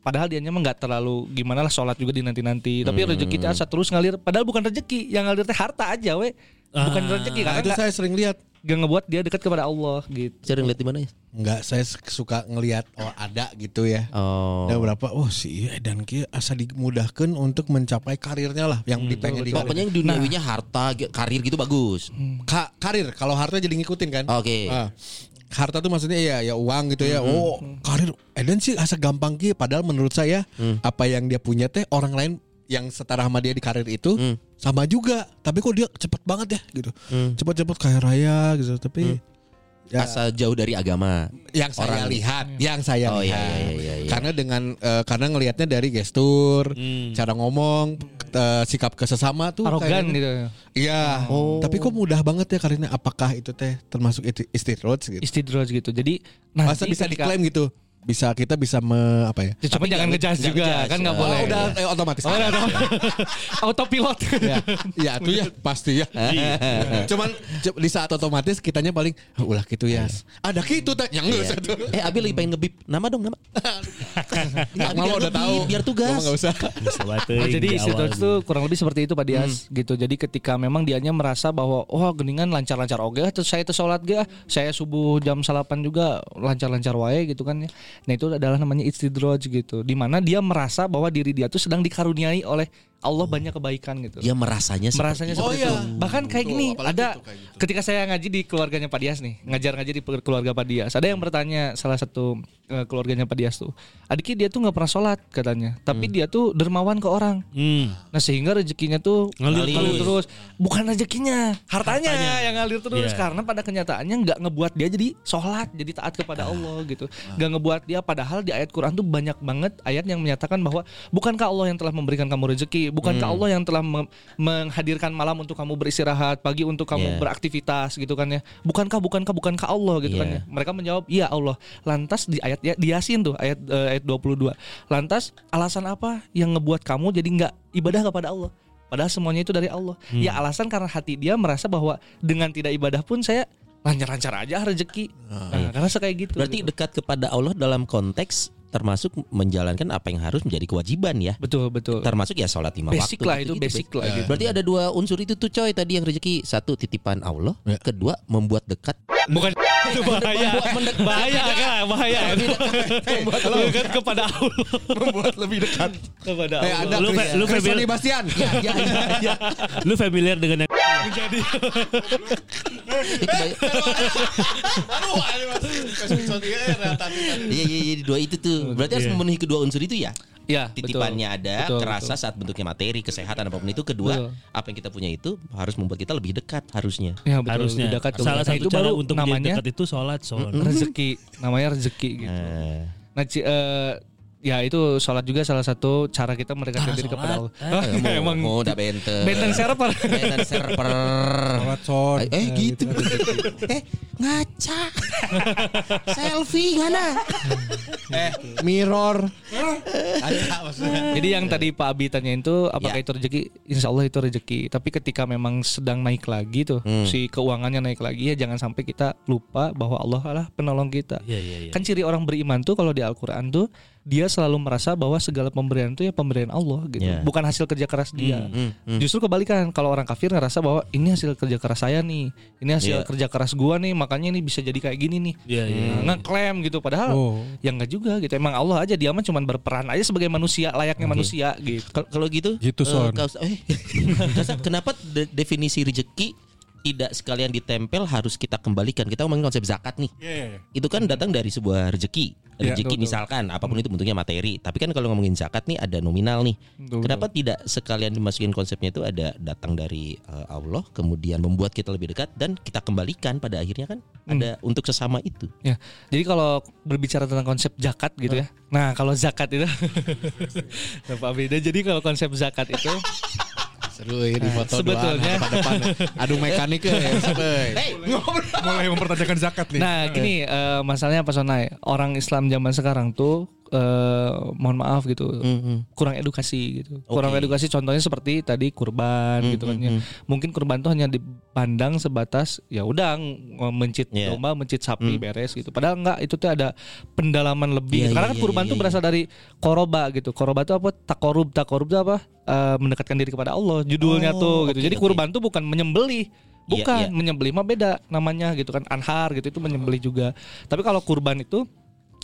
Padahal dianya mah nggak terlalu gimana lah sholat juga dinanti-nanti. Tapi Hmm. rezeki itu asa terus ngalir. Padahal bukan rezeki, yang ngalir teh harta aja we. Bukan rezeki Nah, kan itu nggak saya sering lihat. nggak ngebuat dia dekat kepada Allah gitu. Sering lihat di mana ya? Enggak, saya suka ngelihat oh ada gitu ya. Oh. Ada berapa? Oh si dan kia asa dimudahkan untuk mencapai karirnya lah yang Hmm, dipengen di Pokoknya yang duniawinya harta, ge- karir gitu bagus. Hmm. Ka- karir kalau harta jadi ngikutin Oh, kan. Oke. Ah. harta tuh maksudnya ya ya uang gitu ya. Mm-hmm. Oh, karir Eden sih asa gampang kia padahal menurut saya Mm. apa yang dia punya teh orang lain yang setara sama dia di karir itu Mm. sama juga, tapi kok dia cepet banget ya gitu. Cepet-cepet kayak raya gitu, tapi ya, Asal jauh dari agama. yang saya Mm. orang- lihat, yang saya Oh, iya, lihat. iya, iya, iya. Karena dengan eh, karena ngelihatnya dari gestur, Mm. cara ngomong, eh, sikap ke sesama tuh Arogan kayaknya- gitu. Iya. Oh. Tapi kok mudah banget ya karirnya apakah itu teh termasuk isti- istidroj gitu? Istidroj gitu. Jadi Masa bisa diklaim gitu? Bisa kita bisa me, apa ya? Ya, cuma jangan ngejudge juga ngejudge, kan nggak ya. boleh. Oh, udah eh, otomatis. Oh, udah, udah. Autopilot. ya, ya itu ya pasti ya. Iya. Cuman cu- di saat otomatis kitanya paling "Ah, ulah gitu ya. Ada gitu teh yang enggak satu. Eh Abi lagi pengen ngebip nama dong nama. Nggak, Malu biar udah ngebip, tahu. Biar tugas. Enggak usah. Oh, jadi istidroj itu kurang lebih seperti itu Pak Dias gitu. Jadi ketika memang dianya merasa bahwa oh geningan lancar-lancar oge terus saya itu sholat ge ah. saya subuh jam salapan juga lancar-lancar wae gitu kan ya. Nah itu adalah namanya istidroj gitu. Dimana dia merasa bahwa diri dia tuh sedang dikaruniai oleh Allah banyak kebaikan gitu. Dia Ya, merasanya merasanya seperti seperti Oh, itu. iya. Bahkan kayak Betul, gini, apalagi ada itu kayak gitu. ketika saya ngaji di keluarganya Pak Dias nih, ngajar-ngaji di keluarga Pak Dias, ada yang bertanya salah satu eh, keluarganya Pak Dias tuh. Adiknya dia tuh nggak pernah sholat katanya, tapi dia tuh dermawan ke orang. Hmm. Nah sehingga rezekinya tuh Ngalir ngalir, terus. terus. Bukan rezekinya, hartanya, Hartanya. yang ngalir terus Iya. karena pada kenyataannya nggak ngebuat dia jadi sholat, jadi taat kepada Allah gitu. Nggak ngebuat dia padahal di ayat Quran tuh banyak banget ayat yang menyatakan bahwa bukankah Allah yang telah memberikan kamu rezeki, bukankah Allah yang telah mem- menghadirkan malam untuk kamu beristirahat, pagi untuk kamu Iya. beraktivitas gitu kan ya. Bukankah bukankah bukankah Allah gitu kan Iya. ya. Mereka menjawab, "Iya Allah." Lantas di ayat ya, di Yasin tuh ayat eh, ayat 22. Lantas alasan apa yang ngebuat kamu jadi nggak ibadah kepada Allah? Padahal semuanya itu dari Allah. Ya alasan karena hati dia merasa bahwa dengan tidak ibadah pun saya lancar-lancar aja rezeki. Nah, karena kayak gitu. Berarti gitu. dekat kepada Allah dalam konteks termasuk menjalankan apa yang harus menjadi kewajiban ya. betul betul. Termasuk ya sholat lima Basic waktu. lah itu gitu-gitu, basic lah gitu. Berarti ada dua unsur itu tuh coy tadi yang rezeki satu titipan Allah, Ya. kedua membuat dekat. Bukan bahaya. Bahaya kan, bahaya. Bukan kepada Allah. Membuat lebih dekat. Iya, Kepada Eh, Allah. ada Lu, Chris, Fe- lu, Chris Febil. Sony Bastian. Ya, Lu familiar dengan yang Itu bay- Iya iya iya dua itu tuh. Berarti harus Iya. memenuhi kedua unsur itu ya. Ya, betul. Titipannya ada, Betul, kerasa saat bentuknya materi, kesehatan apapun itu. Kedua, Betul. apa yang kita punya itu harus membuat kita lebih dekat harusnya. Ya, betul. harusnya Lebih dekat ke salah Allah. Nah, satu itu cara baru untuk menjadi namanya dekat itu sholat sholat. rezeki, namanya rezeki gitu. Eh, Nah, ci- eh, ya itu sholat juga salah satu cara kita mendekatkan diri kepada Allah. Hah, mau- emang mau Nah, udah benten. benteng server. Benten server. Sholat son. Eh Nah, gitu. eh ngaca. Selfie ngana. Eh. Mirror. Iya. Jadi yang tadi Pak Abi tanyain itu apakah Ya. itu rezeki? Insya Allah itu rezeki. Tapi ketika memang sedang naik lagi tuh Hmm. si keuangannya naik lagi ya jangan sampai kita lupa bahwa Allah lah penolong kita. Iya iya iya. Kan ciri orang beriman tuh kalau di Al-Qur'an tuh dia selalu merasa bahwa segala pemberian itu ya pemberian Allah gitu. Ya. Bukan hasil kerja keras dia. Hmm, hmm. Justru kebalikan kalau orang kafir ngerasa bahwa ini hasil kerja keras saya nih, ini hasil Iya. kerja keras gua nih, makanya ini bisa jadi kayak gini nih. Iya iya. Nah, ngeklaim gitu padahal Oh. ya enggak juga gitu emang Allah aja dia mah cuma berperan aja sebagai manusia layaknya manusia gitu Kal- Kalau gitu, Gitu, eh, Son. kau- eh, Kasa, kenapa de- definisi rezeki tidak sekalian ditempel harus kita kembalikan? Kita ngomongin konsep zakat nih. Itu kan datang dari sebuah rezeki. Iya, betul. Rezeki Hmm. misalkan apapun itu bentuknya materi. Tapi kan kalau ngomongin zakat nih ada nominal nih. Kenapa tidak sekalian dimasukin konsepnya itu ada datang dari eh, Allah, kemudian membuat kita lebih dekat dan kita kembalikan pada akhirnya kan Hmm. ada untuk sesama itu. ya jadi kalau berbicara tentang konsep zakat gitu ya nah kalau zakat itu apa beda jadi kalau konsep zakat itu Seru ini foto Eh, sebetulnya- doang, depan-depan. Aduh mekanik ya. sampai. Mulai mempertanyakan zakat nih. nah gini eh, masalahnya apa sonai orang Islam zaman sekarang tuh eh, mohon maaf gitu kurang edukasi gitu kurang Oke. Hmm, edukasi contohnya seperti tadi kurban gitu kan ya. mungkin kurban tuh hanya dipandang sebatas ya udah ng- mencit Iya. domba mencit sapi beres gitu padahal enggak itu tuh ada pendalaman Iya, lebih gitu. karena iya, kan iya, kurban iya, tuh iya. berasal dari koroba gitu koroba tuh apa takorub takorub tuh apa Eh, mendekatkan diri kepada Allah judulnya Oh, tuh oke, gitu jadi oke. kurban tuh bukan menyembelih Iya, bukan iya. menyembelih mah beda namanya gitu kan anhar gitu itu menyembelih juga tapi kalau kurban itu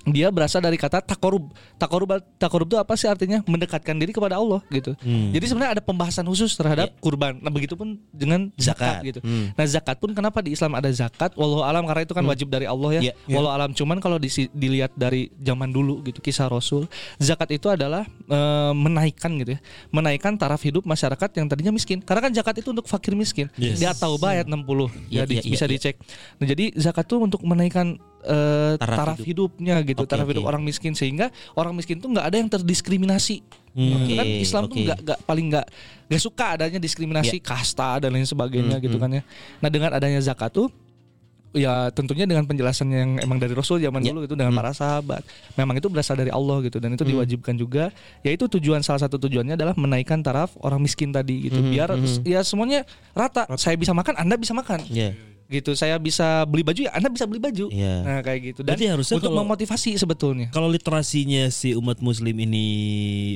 dia berasal dari kata takorub. Takorub takorub itu apa sih artinya? Mendekatkan diri kepada Allah gitu. Hmm. Jadi sebenarnya ada pembahasan khusus terhadap kurban. Nah, begitupun dengan zakat, Iya. Zakat, gitu. hmm. Nah, zakat pun kenapa di Islam ada zakat? Walau alam karena itu kan wajib dari Allah ya. Iya, iya. Walau alam cuman kalau disi- dilihat dari zaman dulu gitu kisah Rasul, zakat itu adalah eh, menaikkan gitu ya. Menaikkan taraf hidup masyarakat yang tadinya miskin. Karena kan zakat itu untuk fakir miskin. Yes. Dia tahu bayat 60. Iya, Ya di- iya, iya, bisa iya. dicek. Nah, jadi zakat tuh untuk menaikkan eh, Taraf taraf, hidupnya gitu, Oke, taraf oke. hidup orang miskin sehingga orang miskin tuh nggak ada yang terdiskriminasi. Gitu kan Oke, Islam tuh oke. Ya. nggak nggak paling nggak nggak suka adanya diskriminasi kasta dan lain sebagainya Hmm, gitu kan ya. Nah dengan adanya zakat tuh ya tentunya dengan penjelasan yang emang dari Rasul zaman Ya. Hmm. dulu gitu dengan para sahabat. Memang itu berasal dari Allah gitu dan itu diwajibkan juga. Yaitu tujuan salah satu tujuannya adalah menaikkan taraf orang miskin tadi Hmm, gitu. Biar ya semuanya rata. Saya bisa makan, Anda bisa makan. Iya. Gitu. Saya bisa beli baju ya Anda bisa beli baju. Iya. Nah, kayak gitu. Dan Berarti harusnya untuk kalau- memotivasi sebetulnya. Kalau literasinya si umat muslim ini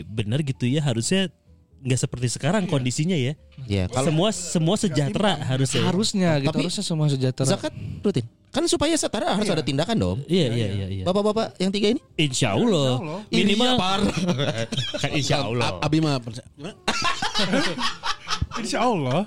benar gitu ya harusnya nggak seperti sekarang kondisinya ya. Iya, kalau semua semua sejahtera harusnya. Harusnya gitu, Tapi- harusnya semua sejahtera. zakat rutin. Kan supaya setara harus ada tindakan dong. Iya iya iya. iya. Bapak-bapak yang tiga ini Insya Ya Allah minimal Iya, kan Insya Allah. Abi mah percaya. Insya Allah.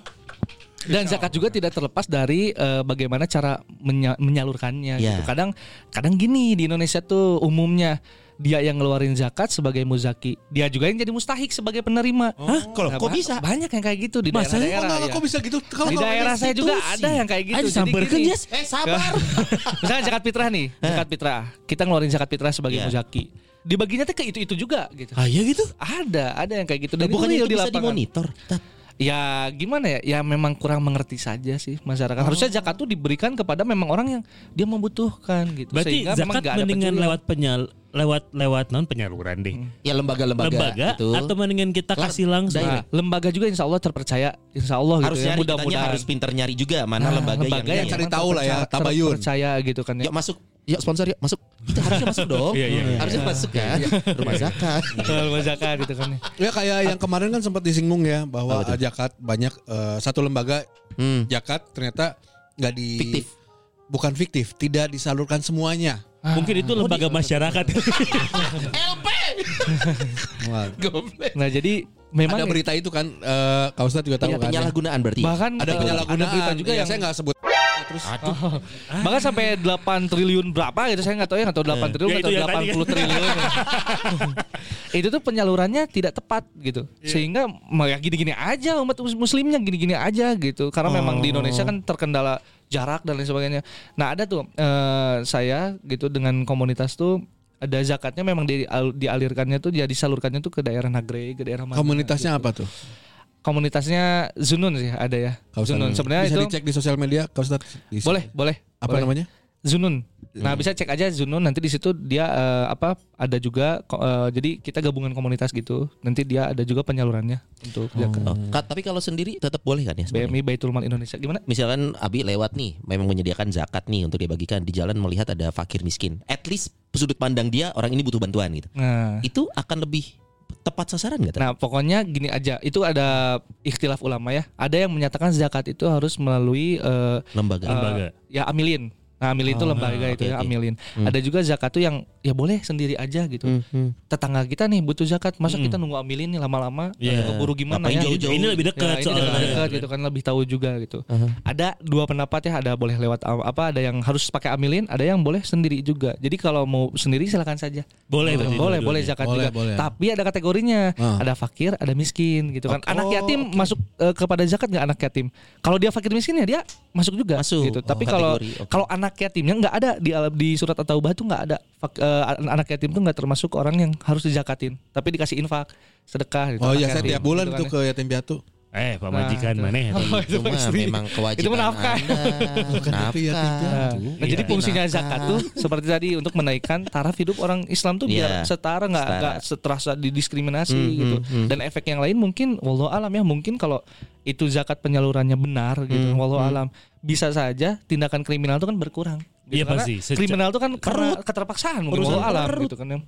Dan zakat juga tidak terlepas dari eh, bagaimana cara menya- menyalurkannya Ya. gitu. Kadang kadang gini di Indonesia tuh umumnya dia yang ngeluarin zakat sebagai muzaki, dia juga yang jadi mustahik sebagai penerima. Hah, kalau Nah, kok ba- bisa? Banyak yang kayak gitu di Masanya daerah-daerah. ya. Ah, kok bisa gitu? Kalau di kalau daerah saya juga institusi. ada yang kayak gitu. Ayo Jadi sambarkan, gini, Yes. Eh, sabar. Misalnya zakat fitrah nih, zakat fitrah. Kita ngeluarin zakat fitrah sebagai Iya. muzaki. Dibaginya tuh ke itu-itu juga gitu. Ah, iya gitu. Ada, ada yang kayak gitu. Dan Bukannya itu itu real di bisa lapangan. dimonitor. Tat. Ya gimana ya? Ya memang kurang mengerti saja sih masyarakat. Harusnya zakat tuh diberikan kepada memang orang yang dia membutuhkan gitu. Berarti Sehingga memang zakat nggak ada mendingan penjualan. lewat penyal lewat lewat non penyaluran deh. Hmm. Ya lembaga-lembaga Lembaga gitu. atau mendingan kita Lar- kasih langsung. Nah, lembaga juga insya Allah terpercaya, insya Allah harus gitu nyari ya. kitanya Mudah-mudahan harus pinter nyari juga mana Nah, lembaga, yang, yang cari memang tahu lah ya, terpercaya- tabayun. Terpercaya gitu kan ya. Yuk masuk. Yuk sponsor yuk masuk. Kita harusnya masuk dong. Iya, iya, iya. harusnya masuk kan. Rumah zakat. Lewat zakat gitu kan. ya. Ya kayak yang kemarin kan sempat disinggung ya bahwa zakat banyak eh, satu lembaga Hmm. zakat ternyata nggak di Fiktif. bukan fiktif, tidak disalurkan semuanya. Mungkin Oh, itu lembaga masyarakat. ya, Ah. Nah jadi memang ada berita itu kan eh Kak Ustadz juga tahu Iya, kan. ya. penyalahgunaan berarti. bahkan eh, Ada penyalahgunaan ada Iya, berita juga ya, yang saya nggak sebut. Terus bahkan sampai 8 triliun berapa gitu saya nggak tahu ya nggak tahu 8 triliun Ya, itu atau yang tadi 80 kan. triliun gitu. itu tuh penyalurannya tidak tepat gitu sehingga mah ya gini-gini aja umat mus- muslimnya gini-gini aja gitu karena memang di Indonesia kan terkendala jarak dan lain sebagainya nah ada tuh eh, saya gitu dengan komunitas tuh ada zakatnya memang di- dialirkannya tuh dia disalurkannya tuh ke daerah Nagrei ke daerah mana komunitasnya gitu. apa tuh? komunitasnya Zunun sih ada ya Kak Ustadz. Zunun sebenarnya bisa itu dicek di sosial media Kak Ustadz. Di- boleh boleh Apa boleh. namanya? Zunun. Nah bisa cek aja Zunun nanti di situ dia eh, apa ada juga ko- eh, jadi kita gabungan komunitas gitu. Nanti dia ada juga penyalurannya untuk zakat. Oh, Kak, tapi kalau sendiri tetap boleh kan ya? sebenarnya? BMI Baitul Mal Indonesia gimana? Misalkan Abi lewat nih, memang menyediakan zakat nih untuk dibagikan di jalan melihat ada fakir miskin. At least sudut pandang dia orang ini butuh bantuan gitu. Nah, Itu akan lebih tepat sasaran nggak? Tat? nah pokoknya gini aja. Itu ada ikhtilaf ulama ya. Ada yang menyatakan zakat itu harus melalui eh, lembaga. eh, Lembaga. ya amilin. Nah, amilin itu Oh, lembaga oke, itu ya, oke. amilin. Hmm. Ada juga zakat tuh yang ya boleh sendiri aja gitu. Hmm, hmm. Tetangga kita nih butuh zakat, masa kita nunggu amilin nih lama-lama Iya. eh, keburu gimana Ngapain ya? jauh-jauh? Ini lebih Ya, dekat ini soalnya. Iya, dekat, dekat gitu kan lebih tahu juga gitu. Aha. Ada dua pendapat ya, ada boleh lewat am- apa, ada yang harus pakai amilin, ada yang boleh sendiri juga. Jadi kalau mau sendiri silakan saja. Boleh berarti boleh, dua-duanya. boleh zakat Boleh, juga. boleh. Tapi ada kategorinya, Ah. ada fakir, ada miskin gitu kan. Oke. Anak Oh, yatim masuk eh, kepada zakat nggak anak yatim? Kalau dia fakir miskin ya dia masuk juga Masuk. gitu. Oh, Tapi kalau kategori, oke. kalau anak yatimnya nggak ada di al- di surat at-taubah tuh nggak ada Fak- eh, an- anak yatim tuh nggak termasuk orang yang harus dijakatin. Tapi dikasih infak, sedekah gitu. Oh anak iya saya yatim, tiap bulan gitu kan tuh ya. ke yatim piatu. Eh, Pak Nah, Majikan itu. mana ya? Oh, itu itu mah pasti. memang kewajiban Itu mah nafkah. Anda. tapi ya tiga. Nafkah. Nah, nah, jadi Iya, fungsinya zakat tuh seperti tadi untuk menaikkan taraf hidup orang Islam tuh Iya. biar setara nggak Setara. nggak seterasa didiskriminasi Hmm, gitu. hmm, hmm. Dan efek yang lain mungkin wallahu alam ya mungkin kalau itu zakat penyalurannya benar gitu Hmm, wallahu hmm. alam bisa saja tindakan kriminal itu kan berkurang. Iya, Karena pasti. Seca- Kriminal itu kan karena keterpaksaan mungkin Urusan Hmm. wallahu alam gitu kan ya.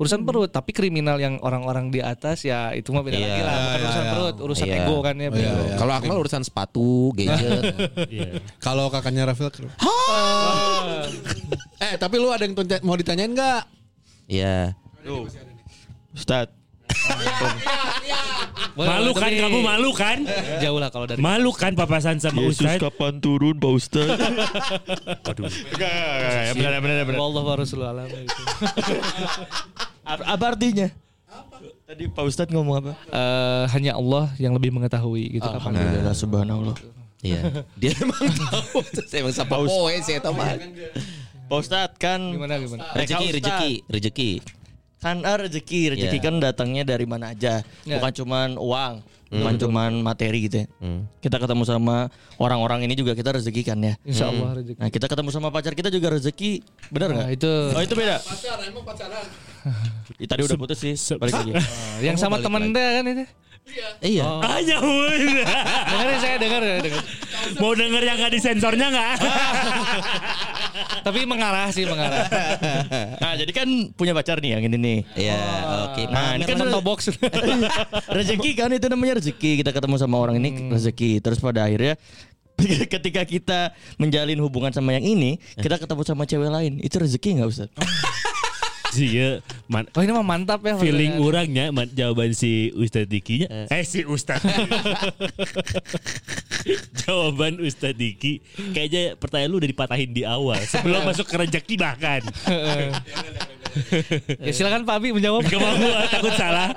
Urusan perut tapi kriminal yang orang-orang di atas ya itu mah beda Iya, lagi lah bukan iya, urusan iya. perut, urusan Iya. ego kan ya. Iya, bego. iya. Kalau Akmal urusan sepatu, gadget. Iya. Kalau kakaknya Rafael ke- Eh tapi lu ada yang tuntut- mau ditanyain nggak? ya. Ustad. Boleh, Malu boleh, kan tapi kamu malu kan? Jauh lah kalau dari Malu kan papasan sama Ustaz? kapan turun Pak Ustad? Aduh. benar benar benar. Wallahu warasulu alam gitu. Apa artinya? Tadi Pak Ustad ngomong apa? eh hanya Allah yang lebih mengetahui gitu kapan. Alhamdulillah subhanallah. Iya. Dia emang tahu. Saya emang sapa poe saya tahu mah. Pak Ustad kan Gimana gimana? Rezeki, Ustaz. rezeki, rezeki. kan ah, rezeki rezeki Iya. kan datangnya dari mana aja Iya. bukan cuman uang bukan cuman materi gitu ya Hmm. kita ketemu sama orang-orang ini juga kita rezeki kan ya Insya Allah rezeki. nah kita ketemu sama pacar kita juga rezeki benar nggak Nah, itu oh itu beda Ih, tadi udah putus sih balik lagi yang sama temen dah kan itu. Iya. Oh. Aja woy. Dengerin saya denger, denger. Mau denger yang gak disensornya gak? Tapi mengarah sih mengarah. nah jadi kan punya pacar nih yang ini nih Iya, oke. Nah, ini kan Contoh box. rezeki kan itu namanya rezeki kita ketemu sama orang ini rezeki terus pada akhirnya ketika kita menjalin hubungan sama yang ini kita ketemu sama cewek lain itu rezeki nggak Ustaz? Iya. Man, Oh ini mah mantap ya. feeling maksudnya. Eh, orangnya man- jawaban si Ustaz Dikinya. Eh si Ustaz. Jawaban Ustadz Diki Kayaknya pertanyaan lu udah dipatahin di awal Iya. Sebelum masuk ke rejeki bahkan ya silakan Pak Abi menjawab. Gak mau gua, takut salah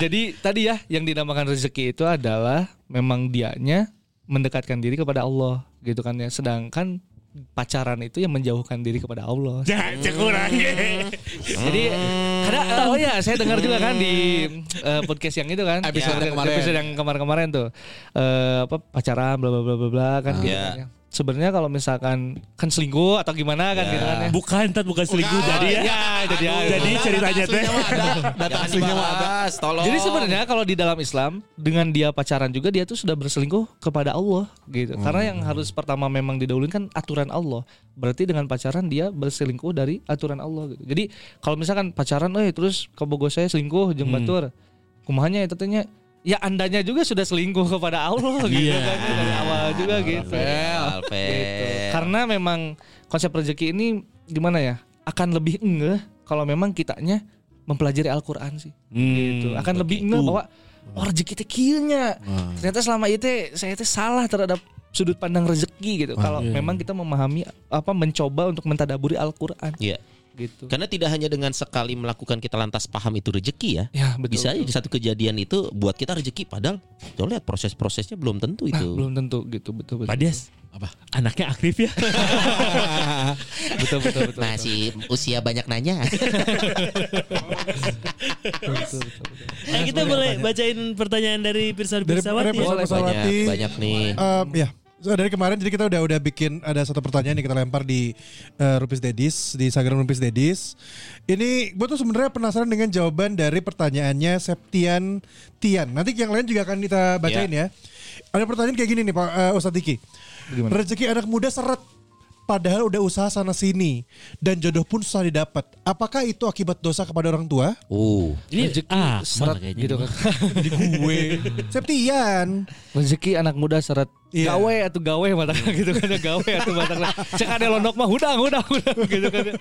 Jadi tadi ya yang dinamakan rezeki itu adalah memang dianya mendekatkan diri kepada Allah gitu kan ya. Sedangkan pacaran itu yang menjauhkan diri kepada Allah. Jangan kurang Jadi karena oh ya saya dengar juga kan di eh, podcast yang itu kan Episode yang kemarin. episode yang kemarin-kemarin tuh Eh, apa pacaran bla bla bla bla bla Ah. kan gitu Iya. kan ya. Sebenarnya kalau misalkan kan selingkuh atau gimana Iya. kan gitu kan ya. Bukan tat bukan selingkuh Jadi ya jadi ya. Jadi ceritanya teh Nah, Data aslinya ada. Tolong. Jadi sebenarnya kalau di dalam Islam dengan dia pacaran juga dia tuh sudah berselingkuh kepada Allah gitu. Karena yang harus pertama memang didahuluin kan aturan Allah. Berarti dengan pacaran dia berselingkuh dari aturan Allah gitu. Jadi kalau misalkan pacaran eh terus kebogo saya selingkuh jeung batur. Kumahanya itu tanya ya andanya juga sudah selingkuh kepada Allah gitu kan dari awal juga gitu. Gitu. Iya. Karena memang konsep rezeki ini gimana ya? Akan lebih ngeh kalau memang kitanya mempelajari Al-Qur'an sih gitu. Akan lebih ngeh bahwa oh, rezeki teh kieu nya. Ternyata selama itu saya teh salah terhadap sudut pandang rezeki gitu. Kalau memang kita memahami apa mencoba untuk mentadaburi Al-Qur'an Iya. gitu. Karena tidak hanya dengan sekali melakukan kita lantas paham itu rezeki ya. Ya, betul. Bisa aja di satu kejadian itu buat kita rezeki padahal tuh lihat proses-prosesnya belum tentu Nah, itu. belum tentu gitu, betul betul. Padias Apa? Anaknya aktif ya Betul betul betul. Masih usia banyak nanya. betul, betul, betul, betul. Eh kita boleh bacain pertanyaan dari Pirsawan Dari Pirsawati Pirsawan ya? Pirsawati. banyak, Nah, banyak nih. Em, ya. So, dari kemarin jadi kita udah udah bikin ada satu pertanyaan yang kita lempar di eh, Rupis Dedis di Instagram Rupis Dedis. Ini gue tuh sebenarnya penasaran dengan jawaban dari pertanyaannya Septian Tian. Nanti yang lain juga akan kita bacain ya. Ada pertanyaan kayak gini nih Pak eh, Ustadz Diki. Rezeki anak muda seret padahal udah usaha sana sini dan jodoh pun susah didapat. Apakah itu akibat dosa kepada orang tua? Uh. Ini ah, Seret gitu kan. Septian. Rezeki anak muda seret Iya. gawe atau gawe mata gitu kan ya, gawe atau mata Cek ada londok mah hudang hudang hudang gitu kan. ya.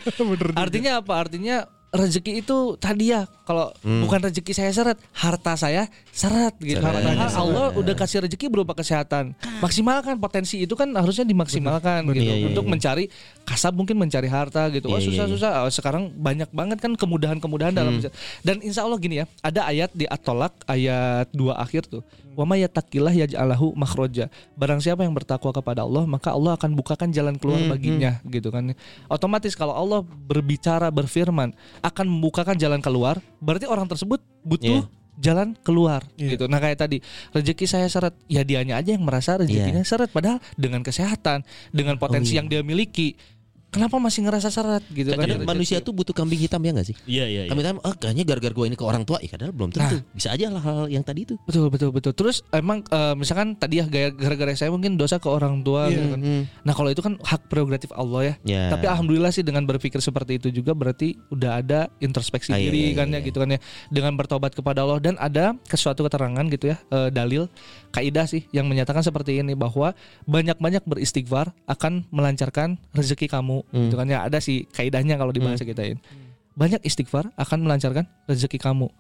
Artinya apa? Artinya rezeki itu tadi ya kalau Hmm. bukan rezeki saya seret, harta saya seret gitu. Padahal Allah udah kasih rezeki berupa kesehatan. Maksimalkan potensi itu kan harusnya dimaksimalkan gitu Iya, iya, untuk iya. mencari kasab mungkin mencari harta gitu. Wah Iya, Hmm. iya, iya. susah-susah susah. Ah, sekarang banyak banget kan kemudahan-kemudahan dalam dan insya Allah gini ya ada ayat di at-tolak ayat dua akhir tuh wama yatakillah yaj'alahu makhroja barang siapa yang bertakwa kepada Allah maka Allah akan bukakan jalan Hmm, keluar baginya gitu kan otomatis kalau Allah berbicara berfirman akan membukakan jalan keluar berarti orang tersebut butuh Iya. jalan keluar gitu. Nah kayak tadi rezeki saya seret, ya dianya aja yang merasa rezekinya Iya. seret. Padahal dengan kesehatan, Oh, dengan potensi yang dia miliki, kenapa masih ngerasa seret gitu? kan? Kadang Rezeki. manusia tuh butuh kambing hitam ya gak sih? Iya iya iya. Kambing hitam, ah kayaknya gara-gara gue ini ke orang tua, ya kadang belum tentu. Nah. Bisa aja lah hal yang tadi itu. Betul betul betul. Terus emang eh, misalkan tadi ya gaya- gara-gara saya mungkin dosa ke orang tua gitu kan. Nah, kalau itu kan hak prerogatif Allah ya. Ya. Tapi alhamdulillah sih dengan berpikir seperti itu juga berarti udah ada introspeksi Ah, iya, diri iya, kan ya gitu kan ya. Dengan bertobat kepada Allah dan ada ke suatu keterangan gitu ya, eh, dalil kaidah sih yang menyatakan seperti ini bahwa banyak-banyak beristighfar akan melancarkan rezeki kamu. Hmm. Gitu kan ya. Ada sih kaidahnya kalau di bahasa kitain. Banyak istighfar akan melancarkan rezeki kamu.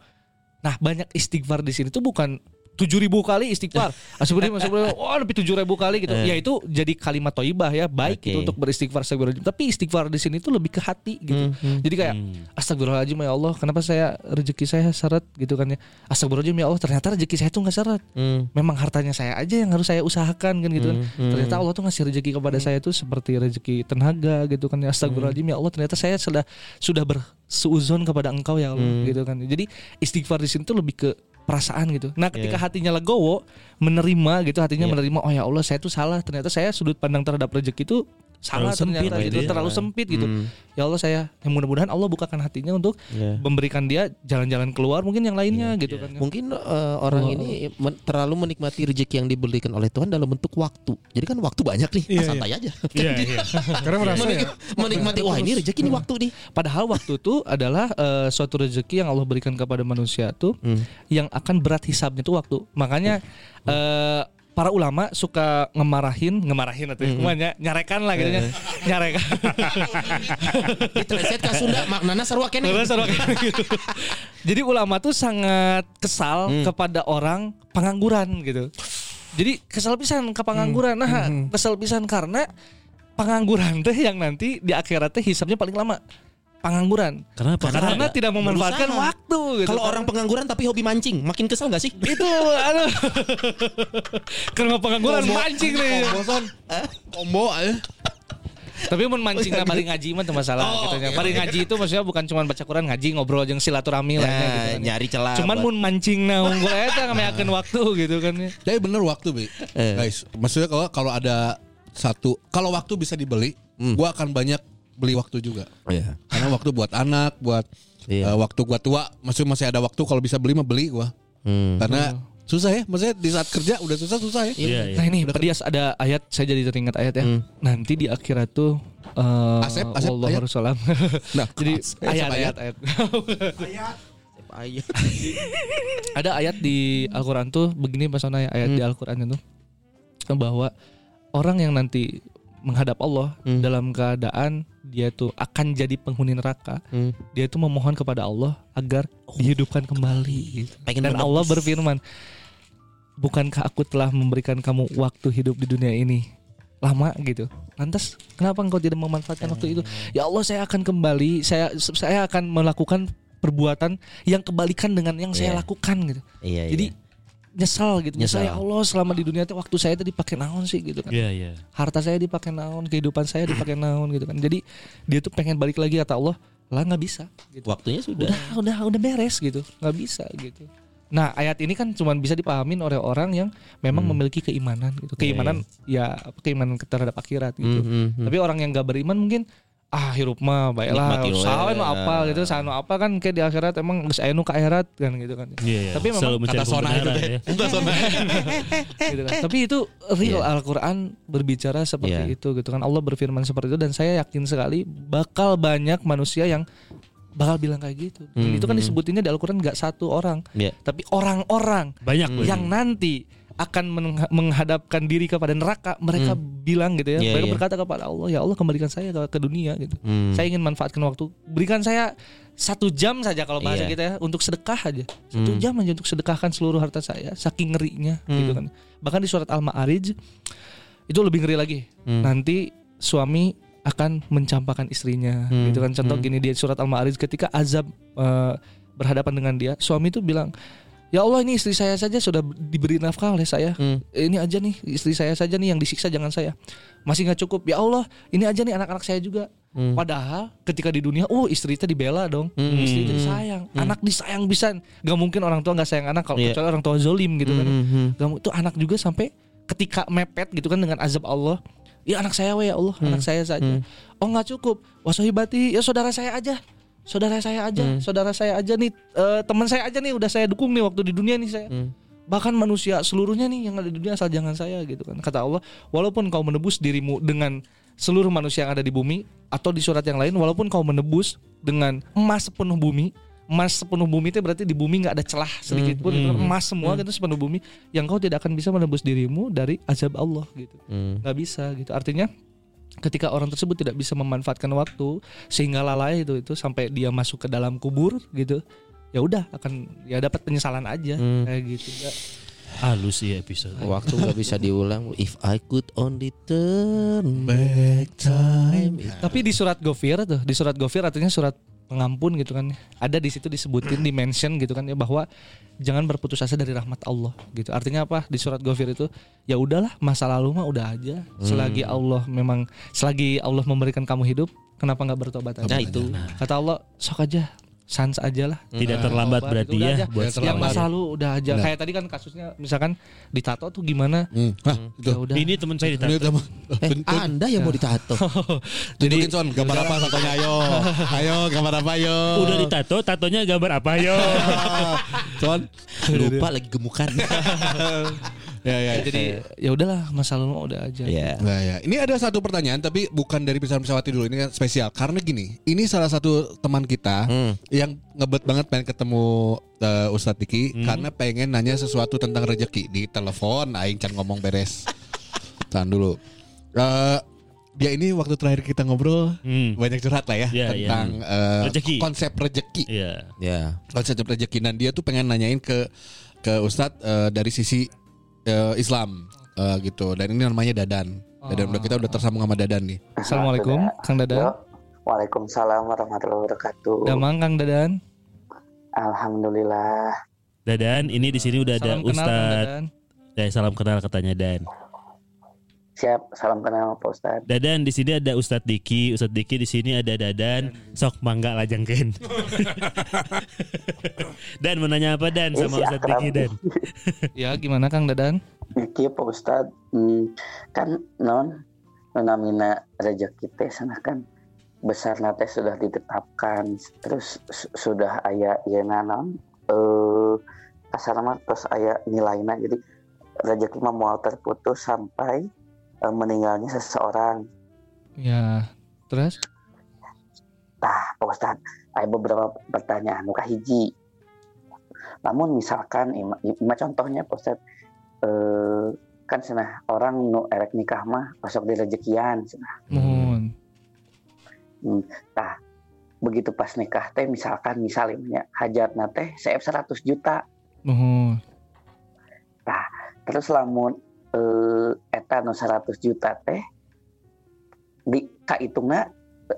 Nah banyak istighfar di sini tuh bukan tujuh ribu kali istighfar. Ah, Sebenarnya maksudnya wah lebih tujuh ribu kali gitu. Ya itu jadi kalimat toibah ya baik itu Eh. Oke. untuk beristighfar astagfirullahaladzim. Tapi istighfar di sini tuh lebih ke hati gitu. Hmm, Jadi kayak astagfirullahaladzim ya Allah kenapa saya rezeki saya seret gitu kan ya. Astagfirullahaladzim ya Allah ternyata rezeki saya tuh nggak seret. Hmm. Memang hartanya saya aja yang harus saya usahakan kan gitu kan. Ternyata Allah tuh ngasih rezeki kepada Hmm. saya tuh seperti rezeki tenaga gitu kan ya. Astagfirullahaladzim ya Allah ternyata saya sudah sudah berseuzon kepada engkau ya Allah Hmm. gitu kan. Jadi istighfar di sini tuh lebih ke perasaan gitu. Iya. Nah, ketika hatinya legowo menerima gitu, hatinya menerima oh ya Allah saya tuh salah. Ternyata saya sudut pandang terhadap rezeki itu Terlalu salah sempit ternyata gitu gitu, ya. terlalu sempit gitu. Ya Allah saya ya mudah-mudahan Allah bukakan hatinya untuk Iya. memberikan dia jalan-jalan keluar mungkin yang lainnya gitu kan. Mungkin eh, orang ini men- terlalu menikmati rezeki yang diberikan oleh Tuhan dalam bentuk waktu. Jadi kan waktu banyak nih, ah, santai aja. Iya iya. Karena merasa ya. Menikmati wah ini rezeki ini waktu nih. Padahal waktu itu adalah eh, suatu rezeki yang Allah berikan kepada manusia tuh yang akan berat hisabnya tuh waktu. Makanya eh, para ulama suka ngemarahin, ngemarahin atau gimana? Nyarekan lah gitu ya. Nyarekan. Diteleset ka Sunda maknana sarua kene. Terus orang kayak gitu. Jadi ulama tuh sangat kesal kepada orang pengangguran gitu. Jadi kesel pisan ke pengangguran. Nah, kesel pisan karena pengangguran teh yang nanti di akhirat teh hisapnya paling lama. Pengangguran. Kenapa? Karena, Karena tidak memanfaatkan berusaha. waktu gitu. Iya, Kalau orang pengangguran tapi hobi mancing, makin kesel gak sih? itu aduh. Karena pengangguran mancing nih. Bosan. Kombo aja. Tapi mun mancing nah paling ngaji mah teu masalah gitu nya. Paling ngaji itu maksudnya bukan cuma baca Quran ngaji ngobrol jeung silaturahmi lah nya, gitu. Nah, kan. nyari celah. Cuman buat- mun mancing na unggul eta ngameakeun waktu gitu kan ya. Tapi bener waktu bi, Eh. guys. Maksudnya kalau kalau ada satu, kalau waktu bisa dibeli, gua akan banyak beli waktu juga. Hmm. Iya. Karena waktu buat anak, buat Iya. eh, waktu gua tua, maksudnya masih ada waktu kalau bisa beli mah beli gua. Hmm. Karena susah ya, maksudnya di saat kerja udah susah susah ya. Iya, iya. Nah ini Pedias ada ayat saya jadi teringat ayat ya. Nanti di akhirat tuh eh Asep, Asep, Wallahu ayat. Rasulullah. Nah, jadi Asep, ayat, Asep, ayat ayat. ada ayat di Al-Qur'an tuh begini Mas Onay, ayat di Al-Qur'an itu bahwa orang yang nanti menghadap Allah dalam keadaan dia tuh akan jadi penghuni neraka. Dia tuh memohon kepada Allah agar dihidupkan kembali. Pengen Dan menebus. Allah berfirman, bukankah aku telah memberikan kamu waktu hidup di dunia ini lama gitu lantas kenapa engkau tidak memanfaatkan waktu itu ya Allah saya akan kembali saya saya akan melakukan perbuatan yang kebalikan dengan yang saya Iya. lakukan gitu Iya, jadi iya. nyesal gitu nyesal. Nyesal. ya Allah selama di dunia itu waktu saya itu dipakai naon sih gitu kan Iya, iya. harta saya dipakai naon kehidupan saya dipakai naon gitu kan jadi dia tuh pengen balik lagi kata Allah lah nggak bisa gitu waktunya sudah. udah udah udah beres gitu nggak bisa gitu nah ayat ini kan cuman bisa dipahamin oleh orang yang memang memiliki keimanan gitu keimanan ya apa, keimanan terhadap akhirat gitu tapi orang yang gak beriman mungkin ah hirup mah baiklah Nikmati we. sawen apa gitu sawen apa kan kayak di akhirat emang geus aya nu ka akhirat kan gitu kan Iya, iya. tapi memang selalu mencari kata sona itu pembenaran deh. ya. gitu kan. Tapi itu real Al-Quran berbicara seperti Iya. itu gitu kan. Allah berfirman seperti itu dan saya yakin sekali bakal banyak manusia yang bakal bilang kayak gitu. Dan itu kan disebutinnya di Al-Quran nggak satu orang, Hmm, Iya. Hmm. tapi orang-orang Banyak loh. yang nanti akan mengha- menghadapkan diri kepada neraka mereka bilang gitu ya Iya, mereka iya. berkata kepada Allah ya Allah kembalikan saya ke, ke dunia gitu Hmm. saya ingin manfaatkan waktu berikan saya satu jam saja kalau bahasa Iya. kita ya untuk sedekah aja satu jam aja untuk sedekahkan seluruh harta saya saking ngerinya gitu kan bahkan di surat al-ma'arij itu lebih ngeri lagi nanti suami akan mencampakkan istrinya gitu kan contoh gini di surat al-ma'arij ketika azab eh, berhadapan dengan dia suami itu bilang Ya Allah ini istri saya saja sudah diberi nafkah oleh saya. Ini aja nih istri saya saja nih yang disiksa jangan saya. Masih nggak cukup. Ya Allah ini aja nih anak-anak saya juga. Padahal ketika di dunia, oh istri itu dibela dong. Istri itu sayang, anak disayang bisa. Gak mungkin orang tua nggak sayang anak kalau kecuali orang tua zolim gitu kan. Gak mu- itu anak juga sampai ketika mepet gitu kan dengan azab Allah. Ya anak saya weh ya Allah, anak saya saja. Oh nggak cukup. Wasohibati ya saudara saya aja saudara saya aja, saudara saya aja nih, eh, teman saya aja nih udah saya dukung nih waktu di dunia nih saya. Bahkan manusia seluruhnya nih yang ada di dunia asal jangan saya gitu kan. Kata Allah, walaupun kau menebus dirimu dengan seluruh manusia yang ada di bumi atau di surat yang lain, walaupun kau menebus dengan emas sepenuh bumi, emas sepenuh bumi itu berarti di bumi nggak ada celah sedikit pun, itu emas semua gitu sepenuh bumi, yang kau tidak akan bisa menebus dirimu dari azab Allah gitu. Hmm, nggak bisa gitu. Artinya ketika orang tersebut tidak bisa memanfaatkan waktu sehingga lalai itu itu sampai dia masuk ke dalam kubur gitu ya udah akan ya dapat penyesalan aja kayak gitu Nggak- Halus sih episode. Waktu nggak bisa diulang. If I could only turn Eh, back time. tapi di surat Gofir tuh di surat Gofir artinya surat pengampun gitu kan ada di situ disebutin di mention gitu kan ya bahwa jangan berputus asa dari rahmat Allah gitu artinya apa di surat Gofir itu ya udahlah masa lalu mah udah aja selagi Allah memang selagi Allah memberikan kamu hidup kenapa nggak bertobat aja Nah itu. kata Allah sok aja sans aja lah Tidak terlambat Obat, berarti udah ya aja. buat yang selamat. masa lalu udah aja kayak tadi kan kasusnya misalkan ditato tuh gimana Hmm. Hah, itu. ya udah Ini teman saya Ini ditato. udah mah. Eh, anda yang mau ditato. Tunjukin son, gambar apa satunya ayo. Ayo gambar apa ayo. Udah ditato, tatonya gambar apa yo? Son. Lupa lagi gemukan. Ya ya. jadi ya udahlah masa lalu mah udah aja Iya. Ya. Nah, ya. Ini ada satu pertanyaan tapi bukan dari pesan pesawat dulu ini kan spesial karena gini ini salah satu teman kita Hmm. yang ngebet banget pengen ketemu eh, Ustadz Diki Hmm. karena pengen nanya sesuatu tentang rejeki di telepon Aing can ngomong beres tahan dulu Eh, dia ini waktu terakhir kita ngobrol Hmm. banyak curhat lah ya Iya, iya. tentang eh, Rejeki. konsep rejeki Iya. Ya. konsep rejeki dan dia tuh pengen nanyain ke ke Ustadz eh, dari sisi eh, Islam eh, gitu dan ini namanya Dadan. Dadan udah kita udah tersambung sama Dadan nih. Assalamualaikum, Kang Dadan. Waalaikumsalam warahmatullahi wabarakatuh. Damang, Kang Dadan. Alhamdulillah. Dadan, ini di sini udah ada Salam kenal, Ya, Kang Ustadz. Dadan. Eh, salam kenal katanya Dan. Siap, salam kenal Pak Ustadz. Dadan di sini ada Ustadz Diki, Ustadz Diki di sini ada Dadan. Sok mangga lajangkeun. dan menanya apa Dan sama Eh, si Ustadz Diki Akram. Dan? Ya, gimana Kang Dadan? Iki Pak Ustadz, hmm, kan non nonamina rezeki teh sana kan besar nate sudah ditetapkan terus su- sudah aya yeuna non eh kasar mah terus aya nilainya jadi rezeki mah moal terputus sampai eh, meninggalnya seseorang Ya, terus Tah, Pak Ustadz, ada beberapa pertanyaan. Nuka hiji. Namun misalkan, ima, ima contohnya Pak Ustadz, eh, kan senah orang nu erek nikah mah masuk di rezekian. Senah. mohon. Hmm, nah, Begitu pas nikah teh misalkan misalnya hajatna teh CF 100 juta. Nah, Mohon. Terus lamun eh, eta nu 100 juta teh di kahitungna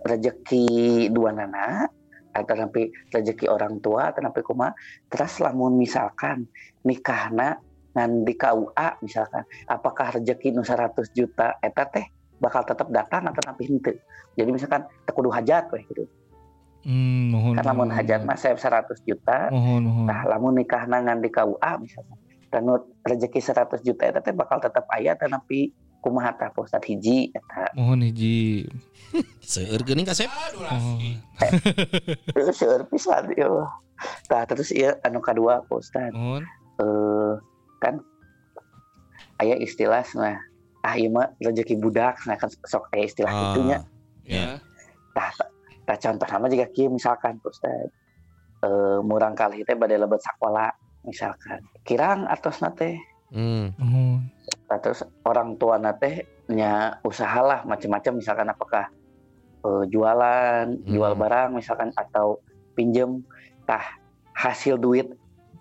rezeki dua nana atau sampai rezeki orang tua atau sampai kuma terus lamun misalkan nikahna ngan di KUA misalkan apakah rezeki nu 100 juta eta teh bakal tetap datang atau sampai henteu jadi misalkan tekudu hajat weh gitu Hmm, mohon. kan lamun mohon, hajat mah saya 100 juta Mohon, mohon. Nah, lamun nikah nangan di KUA misalnya, dan rezeki 100 juta itu teh bakal tetap ayat tapi kumaha tah Pak Ustadz hiji eta. Mohon hiji. Seueur geuning kasep. Mohon. Terus seueur pisan ieu. Tah terus ieu anu kedua Pak Ustadz. Mohon. Eh, kan aya istilah nah ah ieu mah rezeki budak nah kan sok aya istilah Ah. itu nya. Ya. Tah tah Nah, contoh sama juga kieu misalkan Pak Ustadz. Eh, murang kali teh badai lebet sakola misalkan. Kirang atos nate Hmm. Mohon. Nah, terus orang tua nate nya usahalah macam-macam misalkan apakah eh, jualan, jual barang misalkan atau pinjem tah hasil duit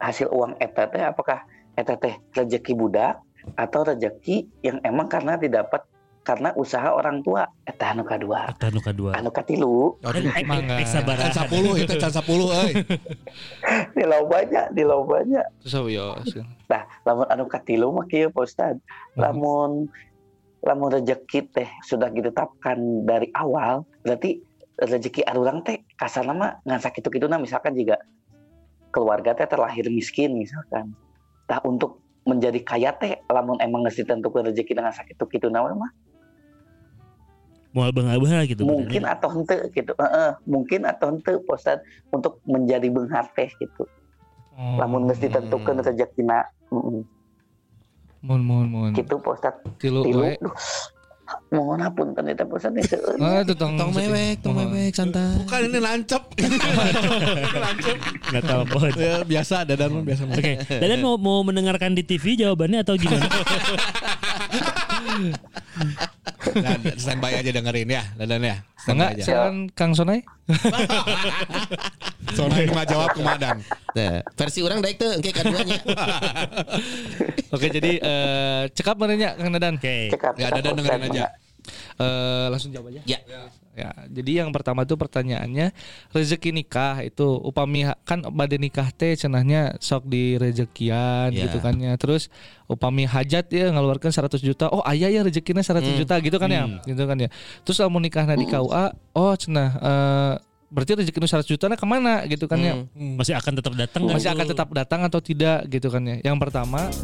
hasil uang eta teh apakah eta teh rezeki budak atau rezeki yang emang karena didapat karena usaha orang tua eta anu kadua Atan nu kadua. anu katilu Eh, mangga. eh, sabaraha. Can 10 itu eh. can 10 euy. di lobanya di lobanya Terus apa ya? Sil? Nah, lamun anu katilu mah kieu Pak Ustad. Hmm. Lamun lamun rezeki teh sudah ditetapkan dari awal, berarti rezeki arurang teh kasarna mah ngan sakitu-kituna misalkan juga keluarga teh terlahir miskin misalkan. Tah untuk menjadi kaya teh lamun emang geus ditentukeun rezeki dengan sakitu-kituna we mah Moal beungah-beungah gitu. mungkin atau henteu gitu. Heeh, mungkin atau henteu Pak Ustad untuk menjadi beunghar teh gitu. Oh, Lamun geus ditentukeun Hmm. rezekina. Heeh. Mohon, mohon, mohon. Gitu Pak Ustad. Tilu tilu we. duh. mohon ampun kan itu pusat nih seueur. Ah, tutong. Tong mewek, tong Mohon. mewek santai. Bukan ini lancep. Enggak telepon. Ya, biasa Dadan mah biasa. Oke, Dadan mau mau mendengarkan di TV jawabannya atau gimana? Nah, standby aja dengerin ya, Dadan ya. Enggak, Standby aja. silakan Kang Sonai. Soalnya cuma jawab kemadan. Nah, versi orang daik tuh engke kaduanya. Oke, jadi eh, cekap menanya Kang Dadan. Oke. Cekap, Ya, cekap, Dadan Pak dengerin Ustad. aja. Eh, langsung jawab aja. Ya. Ya, jadi yang pertama tuh pertanyaannya rezeki nikah itu upami ha- kan badai nikah teh cenahnya sok di rezekian Ya. gitu kan ya. Terus upami hajat ya ngeluarkan 100 juta. Oh, ayah ya rezekinya 100 Hmm. juta gitu kan ya. Gitu kan ya. Terus lamun nikahna di KUA, oh cenah eh, berarti rezeki nu 100 juta kemana gitu kan ya Hmm. Oh, Masih akan tetap datang nggak masih itu? akan tetap datang atau tidak gitu kan ya yang pertama